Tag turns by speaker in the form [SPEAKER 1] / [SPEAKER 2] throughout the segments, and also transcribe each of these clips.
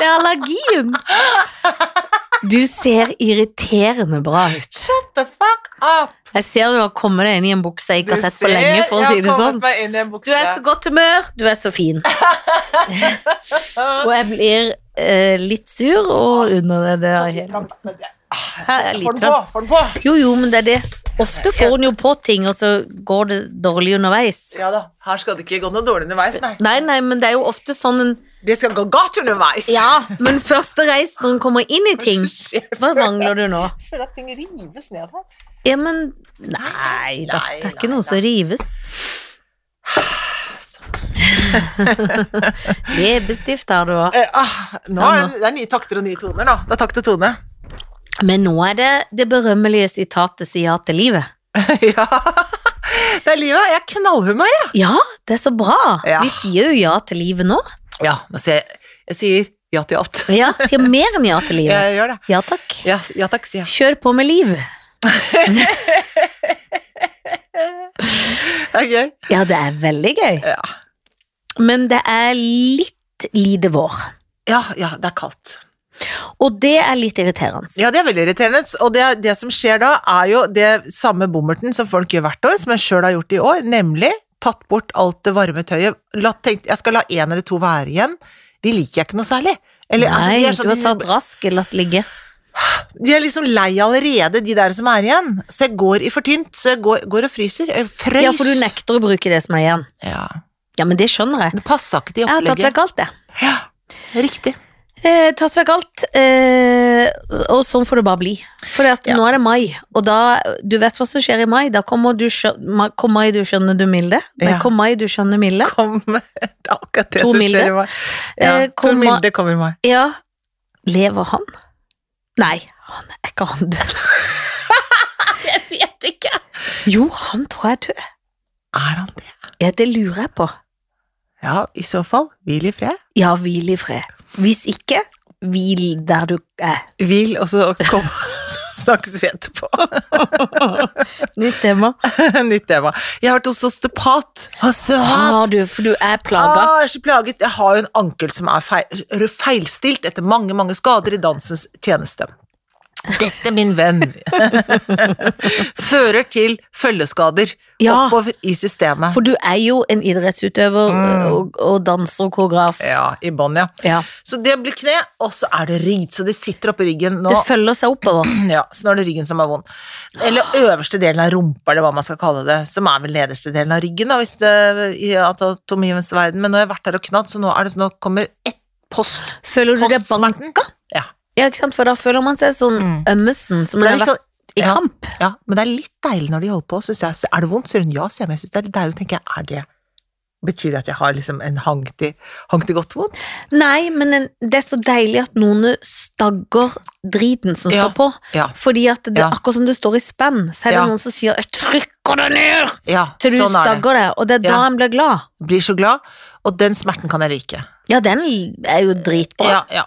[SPEAKER 1] magien! Du ser irriterende bra ut.
[SPEAKER 2] Shut the fuck up!
[SPEAKER 1] Jeg ser du har kommet deg inn i en bukse jeg ikke har sett på lenge, for å si
[SPEAKER 2] jeg
[SPEAKER 1] det
[SPEAKER 2] har
[SPEAKER 1] sånn.
[SPEAKER 2] kommet meg inn i en
[SPEAKER 1] Du
[SPEAKER 2] bukse.
[SPEAKER 1] er så godt humør, du er så fin. og jeg blir eh, litt sur og under det der.
[SPEAKER 2] Litt
[SPEAKER 1] hele-
[SPEAKER 2] kram, men det-
[SPEAKER 1] Her er
[SPEAKER 2] Få
[SPEAKER 1] litt
[SPEAKER 2] den på,
[SPEAKER 1] kram.
[SPEAKER 2] få den på!
[SPEAKER 1] Jo, jo, men det er det. Ofte får hun jo på ting, og så går det dårlig underveis.
[SPEAKER 2] Ja da, her skal det ikke gå noe dårlig underveis, nei.
[SPEAKER 1] Nei, nei, men det er jo ofte sånn en
[SPEAKER 2] Det skal gå godt underveis!
[SPEAKER 1] Ja, men første reis når hun kommer inn i ting.
[SPEAKER 2] Hva skjer?
[SPEAKER 1] Hva mangler du nå?
[SPEAKER 2] Jeg føler at ting rives ned her.
[SPEAKER 1] Ja, men Nei da, det er ikke noe som rives.
[SPEAKER 2] Så-
[SPEAKER 1] Leppestift har du òg.
[SPEAKER 2] Eh, ah, nå er det, det er nye takter og nye toner, da. Det er takt til tone.
[SPEAKER 1] Men nå er det det berømmelige sitatet 'si ja til livet'.
[SPEAKER 2] ja. Det er livet. Jeg er knallhumør, jeg.
[SPEAKER 1] Ja, det er så bra.
[SPEAKER 2] Ja.
[SPEAKER 1] Vi sier jo ja til livet nå.
[SPEAKER 2] Ja, nå sier jeg, jeg sier ja til alt.
[SPEAKER 1] Ja, sier mer enn ja til livet.
[SPEAKER 2] Jeg gjør det.
[SPEAKER 1] Ja takk.
[SPEAKER 2] Ja, ja takk, sier jeg.
[SPEAKER 1] Kjør på med liv.
[SPEAKER 2] Det er gøy.
[SPEAKER 1] Ja, det er veldig gøy.
[SPEAKER 2] Ja.
[SPEAKER 1] Men det er litt lite vår.
[SPEAKER 2] Ja, ja, det er kaldt.
[SPEAKER 1] Og det er litt irriterende.
[SPEAKER 2] Ja, det er veldig irriterende. Og det, det som skjer da, er jo det samme bommerten som folk gjør hvert år, som jeg sjøl har gjort i år, nemlig tatt bort alt det varme tøyet. La, tenkt, jeg skal la én eller to være igjen. De liker jeg ikke noe særlig. Eller, altså,
[SPEAKER 1] Nei,
[SPEAKER 2] de, er sånn,
[SPEAKER 1] du har
[SPEAKER 2] de-
[SPEAKER 1] tatt rask eller latt ligge.
[SPEAKER 2] de er liksom lei allerede, de der som er igjen. Så jeg går i for tynt, så jeg går, går og fryser. Jeg frøys.
[SPEAKER 1] Ja, for du nekter å bruke det som er igjen.
[SPEAKER 2] Ja.
[SPEAKER 1] Ja, men det skjønner jeg.
[SPEAKER 2] Det passa ikke til
[SPEAKER 1] Jeg har tatt
[SPEAKER 2] opplegget.
[SPEAKER 1] vekk alt, det.
[SPEAKER 2] Ja, riktig.
[SPEAKER 1] Eh, tatt vekk alt, eh, og sånn får det bare bli. For
[SPEAKER 2] Ja.
[SPEAKER 1] nå er det mai, og da Du vet hva som skjer i mai. Da kommer du skjø- ma- Kom mai, du skjønner du milde. Nei,
[SPEAKER 2] Ja.
[SPEAKER 1] kom mai, du skjønner milde.
[SPEAKER 2] Kom Det er akkurat det
[SPEAKER 1] Tor
[SPEAKER 2] som
[SPEAKER 1] Milde.
[SPEAKER 2] skjer i mai. Ja,
[SPEAKER 1] Eh,
[SPEAKER 2] Tor
[SPEAKER 1] kom-
[SPEAKER 2] Milde kommer i mai.
[SPEAKER 1] Ja. Lever han? Nei, han er ikke han død.
[SPEAKER 2] Jeg vet ikke!
[SPEAKER 1] Jo, han tror jeg er død.
[SPEAKER 2] Er han det?
[SPEAKER 1] Ja, det lurer jeg på.
[SPEAKER 2] Ja, i så fall, hvil i fred.
[SPEAKER 1] Ja, hvil i fred. Hvis ikke, hvil der du er.
[SPEAKER 2] Hvil, og så kom, så snakkes vi etterpå.
[SPEAKER 1] Nytt tema.
[SPEAKER 2] Nytt tema. Jeg har vært hos osteopat.
[SPEAKER 1] Har
[SPEAKER 2] Osteopat!
[SPEAKER 1] du, for du er plaga.
[SPEAKER 2] Ah, jeg er så plaget. Jeg har jo en ankel som er feil, feilstilt etter mange, mange skader i dansens tjeneste. Dette, min venn, fører til følgeskader
[SPEAKER 1] Ja.
[SPEAKER 2] oppover i systemet.
[SPEAKER 1] For du er jo en idrettsutøver
[SPEAKER 2] Mm.
[SPEAKER 1] og, og danser og koreograf.
[SPEAKER 2] Ja, i bånn, ja.
[SPEAKER 1] Ja.
[SPEAKER 2] Så det blir kne, og så er det rygg. Så det sitter oppi ryggen nå.
[SPEAKER 1] Det følger seg oppover.
[SPEAKER 2] Ja, så nå er det ryggen som er vond. Eller øverste delen av rumpa, eller hva man skal kalle det, som er vel nederste delen av ryggen, da, hvis det i anatomiens verden. Men nå har jeg vært der og knadd, så nå, er det, så nå kommer ett post.
[SPEAKER 1] Føler du deg
[SPEAKER 2] Postsmerten?
[SPEAKER 1] banka?
[SPEAKER 2] Ja.
[SPEAKER 1] Ja, ikke sant? For da føler man seg sånn
[SPEAKER 2] Mm.
[SPEAKER 1] ømmesen som
[SPEAKER 2] For
[SPEAKER 1] man
[SPEAKER 2] det er
[SPEAKER 1] har
[SPEAKER 2] litt
[SPEAKER 1] vært
[SPEAKER 2] sånn,
[SPEAKER 1] i
[SPEAKER 2] ja.
[SPEAKER 1] kamp.
[SPEAKER 2] ja, men det er litt deilig når de holder på, synes jeg. Så Er det vondt, sier hun ja, sier jeg, men jeg synes det er litt deilig. Da tenker jeg, er det Betyr det at jeg har liksom en hang til, hang til godt vondt?
[SPEAKER 1] Nei, men en, det er så deilig at noen stagger driten som
[SPEAKER 2] Ja.
[SPEAKER 1] står på.
[SPEAKER 2] Ja.
[SPEAKER 1] Fordi at det,
[SPEAKER 2] Ja.
[SPEAKER 1] akkurat som det står i spenn, så er det
[SPEAKER 2] Ja.
[SPEAKER 1] noen som sier 'jeg trykker det ned'
[SPEAKER 2] ja
[SPEAKER 1] til du
[SPEAKER 2] sånn er det.
[SPEAKER 1] stagger det, og det er da
[SPEAKER 2] Ja.
[SPEAKER 1] en blir glad.
[SPEAKER 2] Blir så glad, og den smerten kan jeg like.
[SPEAKER 1] Ja, den er jo dritbra. Ja,
[SPEAKER 2] Ja, ja.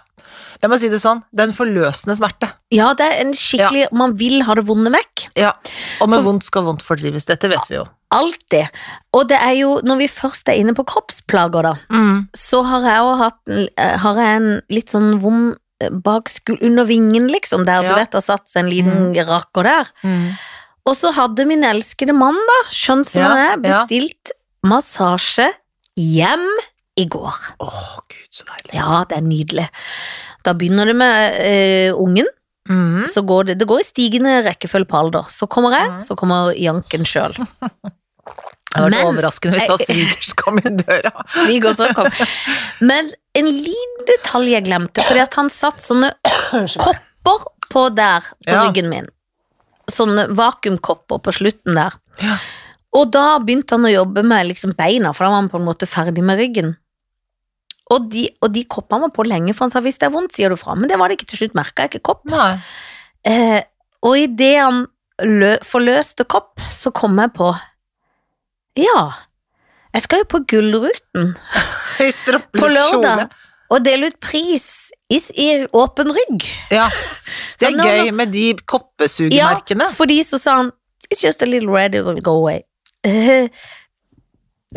[SPEAKER 2] La meg si det sånn, det er en forløsende smerte.
[SPEAKER 1] det er en skikkelig Man vil ha det vonde vekk.
[SPEAKER 2] Ja, og med
[SPEAKER 1] For-
[SPEAKER 2] vondt skal vondt fordrives, dette vet vi jo.
[SPEAKER 1] Alltid. Og det er jo, når vi først er inne på kroppsplager, da,
[SPEAKER 2] Mm.
[SPEAKER 1] så har jeg òg hatt eh, Har jeg en litt sånn vond eh, bak skul... Under vingen, liksom, der
[SPEAKER 2] Ja. Mm.
[SPEAKER 1] du vet det har satt seg en liten rakker der. Og så hadde min elskede mann, da, skjønn som
[SPEAKER 2] Ja,
[SPEAKER 1] han er,
[SPEAKER 2] ja.
[SPEAKER 1] bestilt massasje hjem i går.
[SPEAKER 2] Åh, gud, så deilig.
[SPEAKER 1] Ja, det er nydelig. Da begynner det med eh, ungen.
[SPEAKER 2] Mm.
[SPEAKER 1] Så går det, det går i stigende rekkefølge på alder. Så kommer jeg,
[SPEAKER 2] Mhm.
[SPEAKER 1] så kommer Janken sjøl.
[SPEAKER 2] Det hadde vært
[SPEAKER 1] Men-
[SPEAKER 2] overraskende hvis da svigers kom inn døra.
[SPEAKER 1] Svigersønn kom. Men en liten detalj jeg glemte, fordi at han satt sånne kopper på der, på
[SPEAKER 2] Ja.
[SPEAKER 1] ryggen min. Sånne vakuumkopper på slutten der.
[SPEAKER 2] Ja.
[SPEAKER 1] Og da begynte han å jobbe med liksom beina, for da var han på en måte ferdig med ryggen. Og de, og de koppene var på lenge, for han sa hvis det er vondt, sier du fra. Men det var det ikke til slutt, merka jeg ikke kopp.
[SPEAKER 2] Nei.
[SPEAKER 1] Eh, og idet han lø forløste kopp, så kom jeg på Ja, jeg skal jo på Gullruten
[SPEAKER 2] I stroppelig
[SPEAKER 1] på lørdag
[SPEAKER 2] kjole.
[SPEAKER 1] og dele ut pris i, i åpen rygg.
[SPEAKER 2] Ja. Det
[SPEAKER 1] Så
[SPEAKER 2] er
[SPEAKER 1] nå-
[SPEAKER 2] gøy med de koppesugemerkene.
[SPEAKER 1] Ja, fordi så sa han It's just a little red, it will go away. Eh,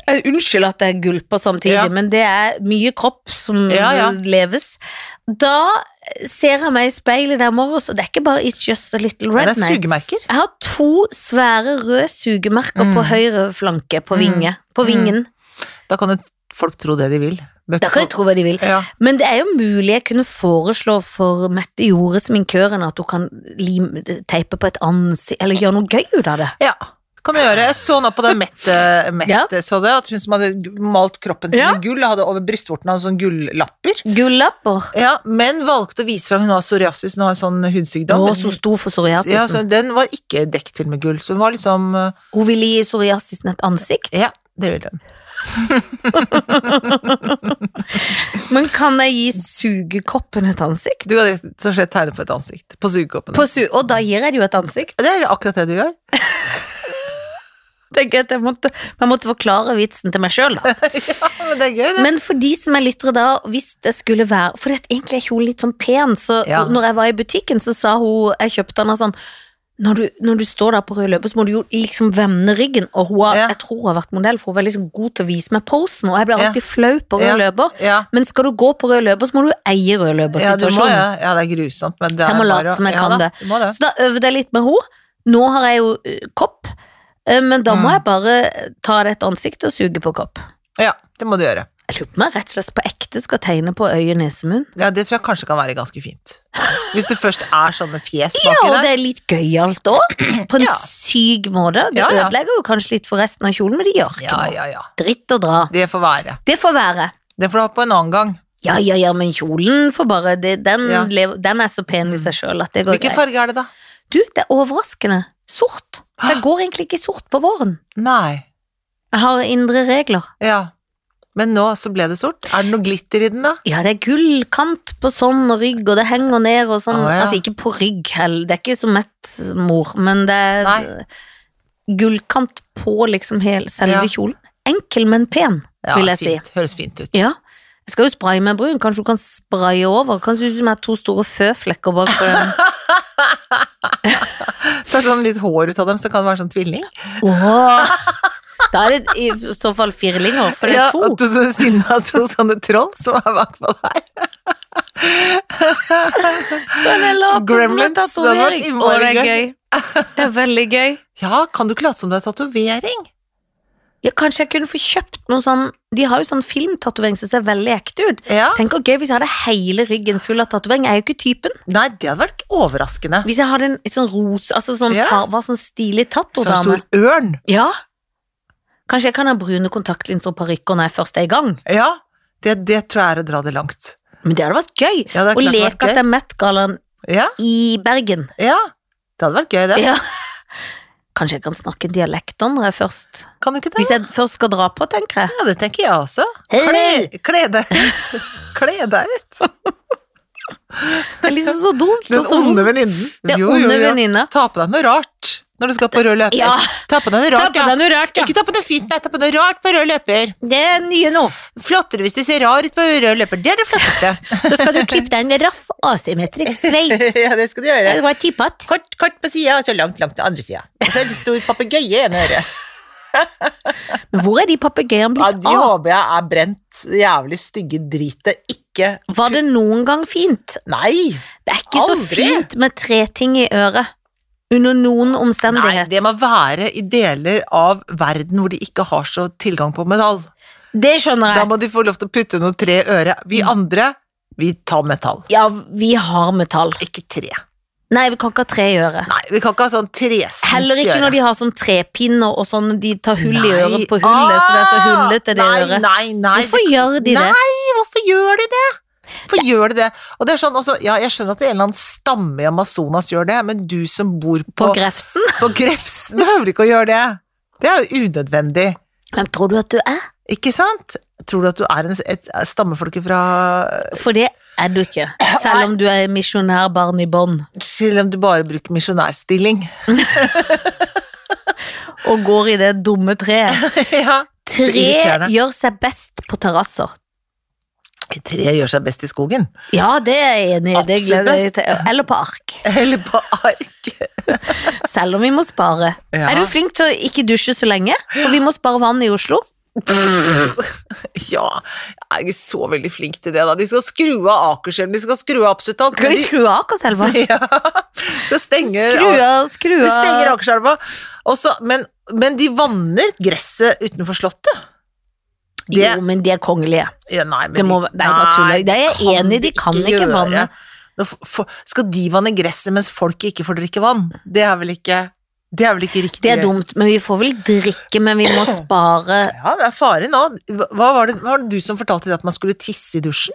[SPEAKER 1] Eh, Unnskyld at jeg gulper samtidig,
[SPEAKER 2] Ja.
[SPEAKER 1] men det er mye kropp som
[SPEAKER 2] Ja, ja.
[SPEAKER 1] leves. Da ser jeg meg i speilet der morges, og det er ikke bare It's Just a Little
[SPEAKER 2] Men
[SPEAKER 1] Red.
[SPEAKER 2] det er
[SPEAKER 1] nei.
[SPEAKER 2] sugemerker.
[SPEAKER 1] Jeg har to svære røde sugemerker
[SPEAKER 2] Mm.
[SPEAKER 1] på høyre flanke, på
[SPEAKER 2] Mm.
[SPEAKER 1] vinge. På
[SPEAKER 2] Mm.
[SPEAKER 1] vingen.
[SPEAKER 2] Da kan jo folk tro det de vil. Bør
[SPEAKER 1] Da kan jeg
[SPEAKER 2] ikke
[SPEAKER 1] tro hva de vil.
[SPEAKER 2] folk- ja.
[SPEAKER 1] Men det er jo mulig jeg kunne foreslå for Mette Jorde sminkøren at hun kan lime, teipe på et ansikt, eller gjøre noe gøy ut av det.
[SPEAKER 2] ja. Kan du gjøre. Jeg så nå på det Mette, Mette
[SPEAKER 1] Ja.
[SPEAKER 2] så det, at hun som hadde malt kroppen sin
[SPEAKER 1] Ja.
[SPEAKER 2] i gull, hadde over brystvortene hadde sånne gullapper.
[SPEAKER 1] Gullapper.
[SPEAKER 2] Ja, men valgte å vise fram hun har psoriasis, hun har en sånn hudsykdom.
[SPEAKER 1] Å, så stor for psoriasisen.
[SPEAKER 2] ja, så den var ikke dekt til med gull, så hun var liksom eh,
[SPEAKER 1] Hun vil gi psoriasisen et ansikt.
[SPEAKER 2] Ja, det ville hun.
[SPEAKER 1] Men kan jeg gi sugekoppen et ansikt?
[SPEAKER 2] Du kan rett og slett tegne på et ansikt. På sugekoppen.
[SPEAKER 1] På su og da gir jeg det jo et ansikt.
[SPEAKER 2] Det er akkurat det du gjør.
[SPEAKER 1] Tenker jeg at jeg måtte, jeg måtte forklare vitsen til meg sjøl, da.
[SPEAKER 2] Ja, men det er gøy, det.
[SPEAKER 1] Men for de som er lyttere da, hvis det skulle være For det, at egentlig er kjolen litt sånn pen, så
[SPEAKER 2] Ja.
[SPEAKER 1] når jeg var i butikken, så sa hun Jeg kjøpte den og sånn når du, når du står der på rød løper, så må du jo liksom vende ryggen. Og hun har,
[SPEAKER 2] Ja.
[SPEAKER 1] jeg tror hun har vært modell, for hun var liksom god til å vise meg posen, og jeg ble
[SPEAKER 2] Ja.
[SPEAKER 1] alltid flau på rød
[SPEAKER 2] Ja.
[SPEAKER 1] løper.
[SPEAKER 2] ja.
[SPEAKER 1] Men skal du gå på rød løper, så må du jo eie rød
[SPEAKER 2] Ja, du må,
[SPEAKER 1] løper-situasjonen.
[SPEAKER 2] ja. ja, det er grusomt, men det
[SPEAKER 1] Så jeg
[SPEAKER 2] er
[SPEAKER 1] må
[SPEAKER 2] bare
[SPEAKER 1] late
[SPEAKER 2] å-
[SPEAKER 1] som jeg
[SPEAKER 2] ja,
[SPEAKER 1] kan
[SPEAKER 2] da,
[SPEAKER 1] det.
[SPEAKER 2] Du må det.
[SPEAKER 1] Så da øvde jeg litt med henne. Nå har jeg jo ø, kopp, ø, men da må
[SPEAKER 2] Mm.
[SPEAKER 1] jeg bare ta det et ansikt og suge på kopp.
[SPEAKER 2] Ja, det må du gjøre.
[SPEAKER 1] Jeg lurer på om jeg rett og slett på ekte skal tegne på øye, nese, munn.
[SPEAKER 2] Ja, det tror jeg kanskje kan være ganske fint. Hvis du først er sånne fjes
[SPEAKER 1] Ja,
[SPEAKER 2] baki
[SPEAKER 1] og
[SPEAKER 2] der.
[SPEAKER 1] det er litt gøyalt òg, på en
[SPEAKER 2] Ja.
[SPEAKER 1] syk måte. Det
[SPEAKER 2] Ja, ja.
[SPEAKER 1] ødelegger jo kanskje litt for resten av kjolen, men det gjør ikke
[SPEAKER 2] Ja,
[SPEAKER 1] noe.
[SPEAKER 2] ja, ja.
[SPEAKER 1] Dritt å dra.
[SPEAKER 2] Det får være.
[SPEAKER 1] Det får være.
[SPEAKER 2] Det får du ha på en annen gang.
[SPEAKER 1] Ja, ja, ja, men kjolen får bare det, den,
[SPEAKER 2] Ja. Mm.
[SPEAKER 1] lever, den er så pen i seg sjøl at det går
[SPEAKER 2] Hvilken
[SPEAKER 1] greit.
[SPEAKER 2] farge Ah. er det, da?
[SPEAKER 1] Du, det er overraskende. Sort. For jeg går egentlig ikke i sort på våren.
[SPEAKER 2] Nei.
[SPEAKER 1] Jeg har indre regler.
[SPEAKER 2] Ja. Men nå så ble det sort. Er det noe glitter i den, da?
[SPEAKER 1] Ja, det er gullkant på sånn og rygg, og det henger ned og sånn.
[SPEAKER 2] Å, ja.
[SPEAKER 1] Altså, ikke på rygg heller, det er ikke som et mor, men det er
[SPEAKER 2] Nei.
[SPEAKER 1] gullkant på liksom hel, selve
[SPEAKER 2] Ja.
[SPEAKER 1] kjolen. Enkel, men pen,
[SPEAKER 2] Ja,
[SPEAKER 1] vil jeg
[SPEAKER 2] fint. Høres fint ut.
[SPEAKER 1] si. Ja. Jeg skal jo spraye med brun, kanskje du kan spraye over? Kanskje du som er to store føflekker bak på den?
[SPEAKER 2] Ta sånn litt hår ut av dem, så kan det være sånn tvilling.
[SPEAKER 1] Åh! Da er det i så fall firlinger, for det
[SPEAKER 2] ja,
[SPEAKER 1] er to.
[SPEAKER 2] At du så sinne av to sånne troll som er bakpå der.
[SPEAKER 1] Men jeg later som en
[SPEAKER 2] Gremlins, det hadde vært
[SPEAKER 1] tatovering.
[SPEAKER 2] innmari
[SPEAKER 1] Åh, det er gøy. Det er veldig gøy.
[SPEAKER 2] Ja, kan du ikke late som det er tatovering?
[SPEAKER 1] Ja, kanskje jeg kunne få kjøpt noe sånn De har jo sånn filmtatovering som ser veldig ekte ut.
[SPEAKER 2] Ja.
[SPEAKER 1] Tenk hvor gøy hvis jeg hadde hele ryggen full av tatovering. Jeg er jo ikke typen.
[SPEAKER 2] Nei, det hadde vært overraskende.
[SPEAKER 1] Hvis jeg hadde en et sånn rose Altså sånn
[SPEAKER 2] Ja.
[SPEAKER 1] far, var sånn stilig
[SPEAKER 2] Sånn
[SPEAKER 1] tatodame.
[SPEAKER 2] stor ørn.
[SPEAKER 1] Ja. Kanskje jeg kan ha brune kontaktlinser og parykker når jeg først er i gang.
[SPEAKER 2] Ja, det, det tror jeg er å dra det langt.
[SPEAKER 1] Men det hadde vært gøy.
[SPEAKER 2] Ja, det
[SPEAKER 1] Å
[SPEAKER 2] er klart det hadde vært
[SPEAKER 1] leke at
[SPEAKER 2] gøy.
[SPEAKER 1] jeg er Met-gallaen
[SPEAKER 2] Ja,
[SPEAKER 1] i Bergen.
[SPEAKER 2] ja, det hadde vært gøy, det.
[SPEAKER 1] Ja. Kanskje jeg kan snakke dialekt når jeg først
[SPEAKER 2] Kan du ikke det?
[SPEAKER 1] Hvis jeg først skal dra på, tenker jeg.
[SPEAKER 2] Ja, det tenker jeg også. Kle,
[SPEAKER 1] Hei! Sånn
[SPEAKER 2] kle deg ut. Kle deg ut.
[SPEAKER 1] Det er liksom så dumt. og
[SPEAKER 2] Den
[SPEAKER 1] så
[SPEAKER 2] onde
[SPEAKER 1] vondt.
[SPEAKER 2] venninnen.
[SPEAKER 1] Det er onde venninna.
[SPEAKER 2] Ta på deg noe rart når du skal på rød løper.
[SPEAKER 1] Ja.
[SPEAKER 2] Ta på deg noe
[SPEAKER 1] Ta
[SPEAKER 2] rart,
[SPEAKER 1] på
[SPEAKER 2] ja.
[SPEAKER 1] deg noe rart, ja.
[SPEAKER 2] Ikke ta på noe fint, nei, ta på noe rart på rød løper.
[SPEAKER 1] Det er nye nå.
[SPEAKER 2] Flottere hvis du ser rar ut på rød løper, det er det flotteste.
[SPEAKER 1] Så skal du klippe deg en raff asymmetrisk sveis.
[SPEAKER 2] ja, det skal du gjøre.
[SPEAKER 1] Det var tippet.
[SPEAKER 2] Kort, kort på sida, og så langt, langt til andre sida. Og så en stor papegøye i ene øret.
[SPEAKER 1] Men hvor er de papegøyene
[SPEAKER 2] Ja,
[SPEAKER 1] blitt
[SPEAKER 2] de
[SPEAKER 1] av?
[SPEAKER 2] håper jeg er brent. Jævlig stygge dritet. Ikke
[SPEAKER 1] Var det noen gang fint?
[SPEAKER 2] Nei!
[SPEAKER 1] Det er ikke så
[SPEAKER 2] Aldri.
[SPEAKER 1] fint med tre ting i øret. Under noen
[SPEAKER 2] Nei,
[SPEAKER 1] omstendighet.
[SPEAKER 2] det må være i deler av verden hvor de ikke har så tilgang på metall.
[SPEAKER 1] Det skjønner
[SPEAKER 2] Da
[SPEAKER 1] jeg.
[SPEAKER 2] må de få lov til å putte noe tre i øret. Vi andre, vi tar metall.
[SPEAKER 1] Ja, vi har metall.
[SPEAKER 2] Ikke tre.
[SPEAKER 1] Nei, vi kan ikke ha tre i øret.
[SPEAKER 2] Nei, vi kan ikke ha sånn tresnitt
[SPEAKER 1] Heller ikke når de har sånn trepinner og sånn, de tar hull i øret på hullet, så det er så hullete det
[SPEAKER 2] Ah! nei,
[SPEAKER 1] øret.
[SPEAKER 2] Nei, nei,
[SPEAKER 1] Hvorfor gjør de det?
[SPEAKER 2] Nei, hvorfor gjør de det? Hvorfor gjør de det? Og det er sånn, også, ja, jeg skjønner at en eller annen stamme i Amazonas gjør det, men du som bor på,
[SPEAKER 1] På grefsen?
[SPEAKER 2] på Grefsen behøver ikke å gjøre det. Det er jo unødvendig.
[SPEAKER 1] Hvem tror du at du er?
[SPEAKER 2] Ikke sant? Tror du at du er en, et stammefolke fra
[SPEAKER 1] For det er du ikke. Selv om du er misjonærbarn i bånd
[SPEAKER 2] Selv om du bare bruker misjonærstilling.
[SPEAKER 1] og går i det dumme treet.
[SPEAKER 2] ja. Så
[SPEAKER 1] Tre
[SPEAKER 2] irriterende.
[SPEAKER 1] gjør seg best på terrasser.
[SPEAKER 2] Tre gjør seg best i skogen.
[SPEAKER 1] Ja, det er jeg enig i. Det
[SPEAKER 2] Absolutt
[SPEAKER 1] gleder jeg
[SPEAKER 2] best.
[SPEAKER 1] til. Eller på ark.
[SPEAKER 2] Eller på ark.
[SPEAKER 1] Selv om vi må spare.
[SPEAKER 2] Ja.
[SPEAKER 1] Er du flink til å ikke dusje så lenge? For vi må spare vann i Oslo.
[SPEAKER 2] Ja, jeg er ikke så veldig flink til det, da. De skal skru av Akerselva, de skal skru av absolutt alt.
[SPEAKER 1] Skal
[SPEAKER 2] men
[SPEAKER 1] de skru av Akerselva?
[SPEAKER 2] Ja. Så stenger
[SPEAKER 1] Skru av, skru
[SPEAKER 2] De stenger
[SPEAKER 1] av
[SPEAKER 2] Akerselva. Og så- Men, men de vanner gresset utenfor slottet. Det-
[SPEAKER 1] Jo, men de er kongelige.
[SPEAKER 2] Ja, nei, men
[SPEAKER 1] Det må,
[SPEAKER 2] de-
[SPEAKER 1] nei, bare tuller. Det er jeg
[SPEAKER 2] kan
[SPEAKER 1] enig i, de kan ikke
[SPEAKER 2] gjøre.
[SPEAKER 1] vanne.
[SPEAKER 2] Nå f- f- Skal de vanne gresset mens folk ikke får drikke vann? Det er vel ikke Det er vel ikke riktig?
[SPEAKER 1] Det er dumt, men vi får vel drikke, men vi må spare
[SPEAKER 2] Ja, det er fare nå. Hva var det, hva var det du som fortalte deg at man skulle tisse i dusjen?